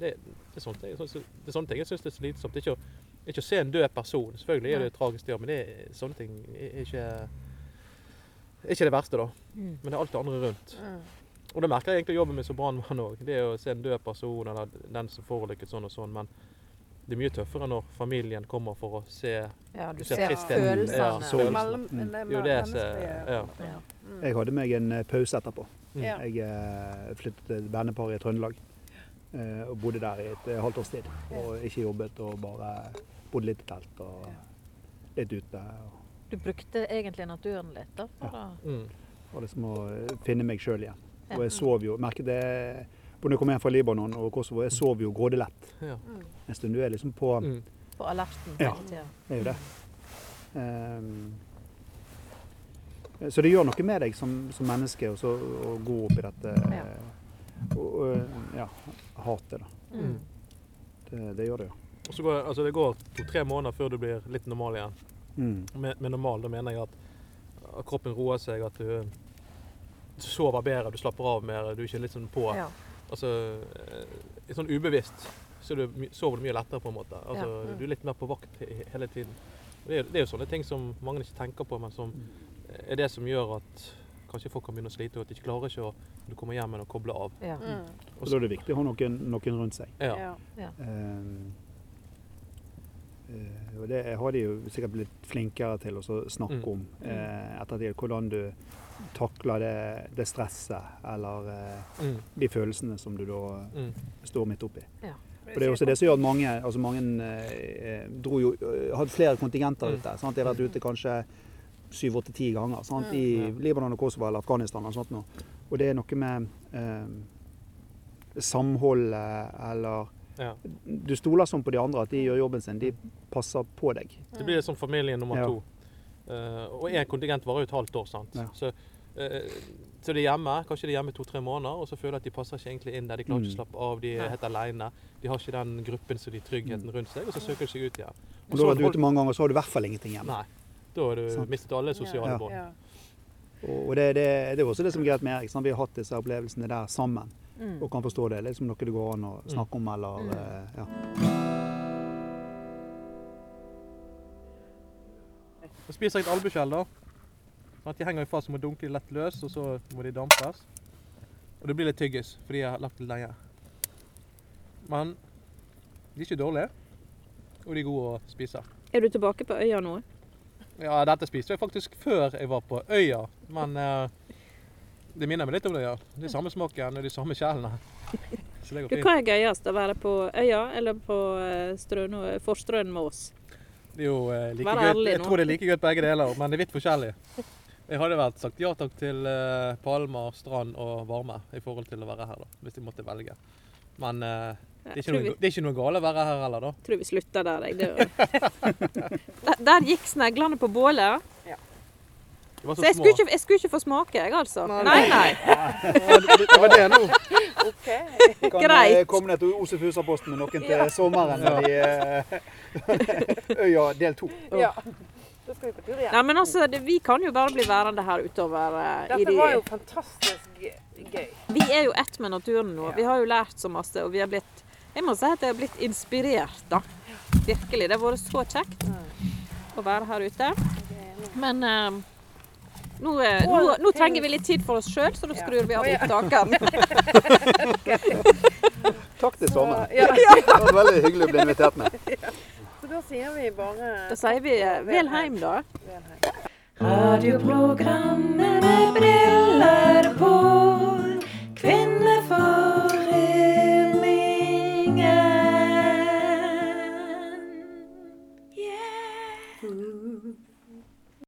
det, det er sånt jeg, sånn- det er sånne ting jeg syns er slitsomt. Det er Ikke å, ikke å se en død person. Selvfølgelig er det tragisk, det, men det er, sånne ting er ikke, er ikke det verste, da.
Mm.
Men det er alt det andre rundt.
Mm.
Og det merker jeg egentlig i jobben min som brannmann òg. Det er å se en død person eller den som forulykker sånn og sånn. Men det er mye tøffere når familien kommer for å se
ja, du
Du ser
ser
tristheten. Ja,
følelsene.
så-
Følelsene.
Mellom,
Mm.
det er
Jo, det er så-
menneskelige-
ja.
Ja.
Mm.
Jeg hadde meg en eh, pause etterpå.
Ja.
Jeg eh, flyttet til et vennepar i Trøndelag eh, og bodde der i et eh, halvt års tid. Og ikke jobbet og bare bodde litt i telt og litt ute. Og,
Du brukte egentlig naturen litt, da. For å,
mm.
og liksom å finne meg sjøl igjen.
Ja.
Og jeg sov jo merket det Når jeg kom hjem fra Libanon og Kosovo, jeg sov jo grådelett
Ja.
en stund. Du er liksom på
Mm.
på alerten
Ja.
hele tida.
Det er jo det. Ehm, så det gjør noe med deg som, som menneske også, å gå opp i dette
Ja.
og, og, ja, hatet. Da.
Mm.
Det, det gjør det jo.
Og så går,
Mm.
altså det går to-tre måneder før du blir litt normal igjen. Med, med normal, da mener jeg at at kroppen roer seg, at du du sover bedre, du slapper av mer, du er ikke litt sånn på.
Ja.
Altså, eh, litt sånn ubevisst så er du, my- sover du mye lettere, på en måte. Altså,
Ja. Mm.
Du er litt mer på vakt he- hele tiden. Og det, er, det er jo sånne ting som mange ikke tenker på, men som er det som gjør at kanskje folk kan begynne å slite, og at de ikke klarer ikke å når du kommer hjem men å koble av.
Ja.
Mm.
Og da er det viktig å ha noen, noen rundt seg.
Ja.
Ja.
Ehm, eh, og det har de jo sikkert blitt flinkere til å så snakke
Mm.
om eh, ettertid. Hvordan du takler det, det stresset eller eh,
Mm,
de følelsene som du da
mm,
står midt oppi.
Ja.
For det er også det som gjør at mange, altså mange eh, dro jo, eh, hadde flere kontingenter
Mm.
ute. Sant? De har vært ute kanskje syv, åtte, ti ganger sant? i
Ja.
Libanon og Kosovo eller Afghanistan. Og, sånt nå. og det er noe med eh, samholdet eller
ja.
Du stoler sånn på de andre at de gjør jobben sin. De passer på deg.
Det blir som familie nummer
Ja.
to. Eh, og én kontingent varer jo et halvt år. sant?
Ja.
Så, eh, så de er hjemme kanskje de er hjemme i to-tre måneder, og så føler de at de passer ikke egentlig inn der. De klarer ikke å
Mm.
slappe av, de er helt alene. De har ikke den gruppen som de tryggheten
Mm.
rundt seg, og så søker de seg ut igjen.
Og da har du vært ute mange ganger, så har du i hvert fall ingenting igjen.
Nei. Da har du
Sant.
mistet alle sosiale
Ja.
bånd.
Ja.
Og og det, det, det er også det som er greit med Erik. Sant? Vi har hatt disse opplevelsene der sammen
Mm.
og kan forstå det. Det er liksom noe det går an å snakke om eller eh, ja.
Så spiser jeg et albuskjell, da. Sånn at de henger jo fast og må dunke de lett løs, og så må de dampes. Og det blir litt tyggis, fordi jeg har lagt det lenge. Men de er ikke dårlige, og de er gode å spise.
Er du tilbake på øya nå?
Ja, dette spiste jeg faktisk før jeg var på øya, men eh, det minner meg litt om det, ja. Det er samme smaken og de samme skjellene. Så det
Du,
går fint.
hva er gøyest? Å være på øya eller på eh, Strøno, Forstrøen med oss?
Det er jo eh, like
Vær
gøy.
ærlig
Jeg
nå.
tror det er like gøy begge deler, men det er vidt forskjellig. Jeg hadde vel sagt ja takk til eh, palmer, strand og varme i forhold til å være her, da, hvis jeg måtte velge. Men eh, det, er
Jeg
ikke
tror
noe,
vi,
det er ikke noe gale å være her heller, da.
tror vi slutter der, jeg. Det var... der, der gikk sneglene på bålet.
De var
Så jeg skulle, ikke, jeg skulle ikke få smake, jeg, altså.
Nei,
Nei, nei.
Det var det nå.
Kan
Greit.
eh, komme ned til Osefusa-posten med noen til sommeren når de eh, Øya del to.
Ja. Da skal vi på tur igjen.
Nei, men altså, det, vi kan jo bare bli værende her utover eh, i
Dette
de
var jo fantastisk gøy.
Vi er jo ett med naturen nå. Vi har jo lært så masse, og vi har blitt Jeg må si at jeg har blitt inspirert, da. Virkelig. Det har vært så kjekt å være her ute. Men eh, nå, eh, nå, nå trenger vi litt tid for oss sjøl, så da skrur vi av opptakeren.
Takk det samme.
Ja,
Det var veldig hyggelig å bli invitert med.
så da sier vi bare
Da sier vi eh, vel heim, da.
Radioprogrammet med briller på.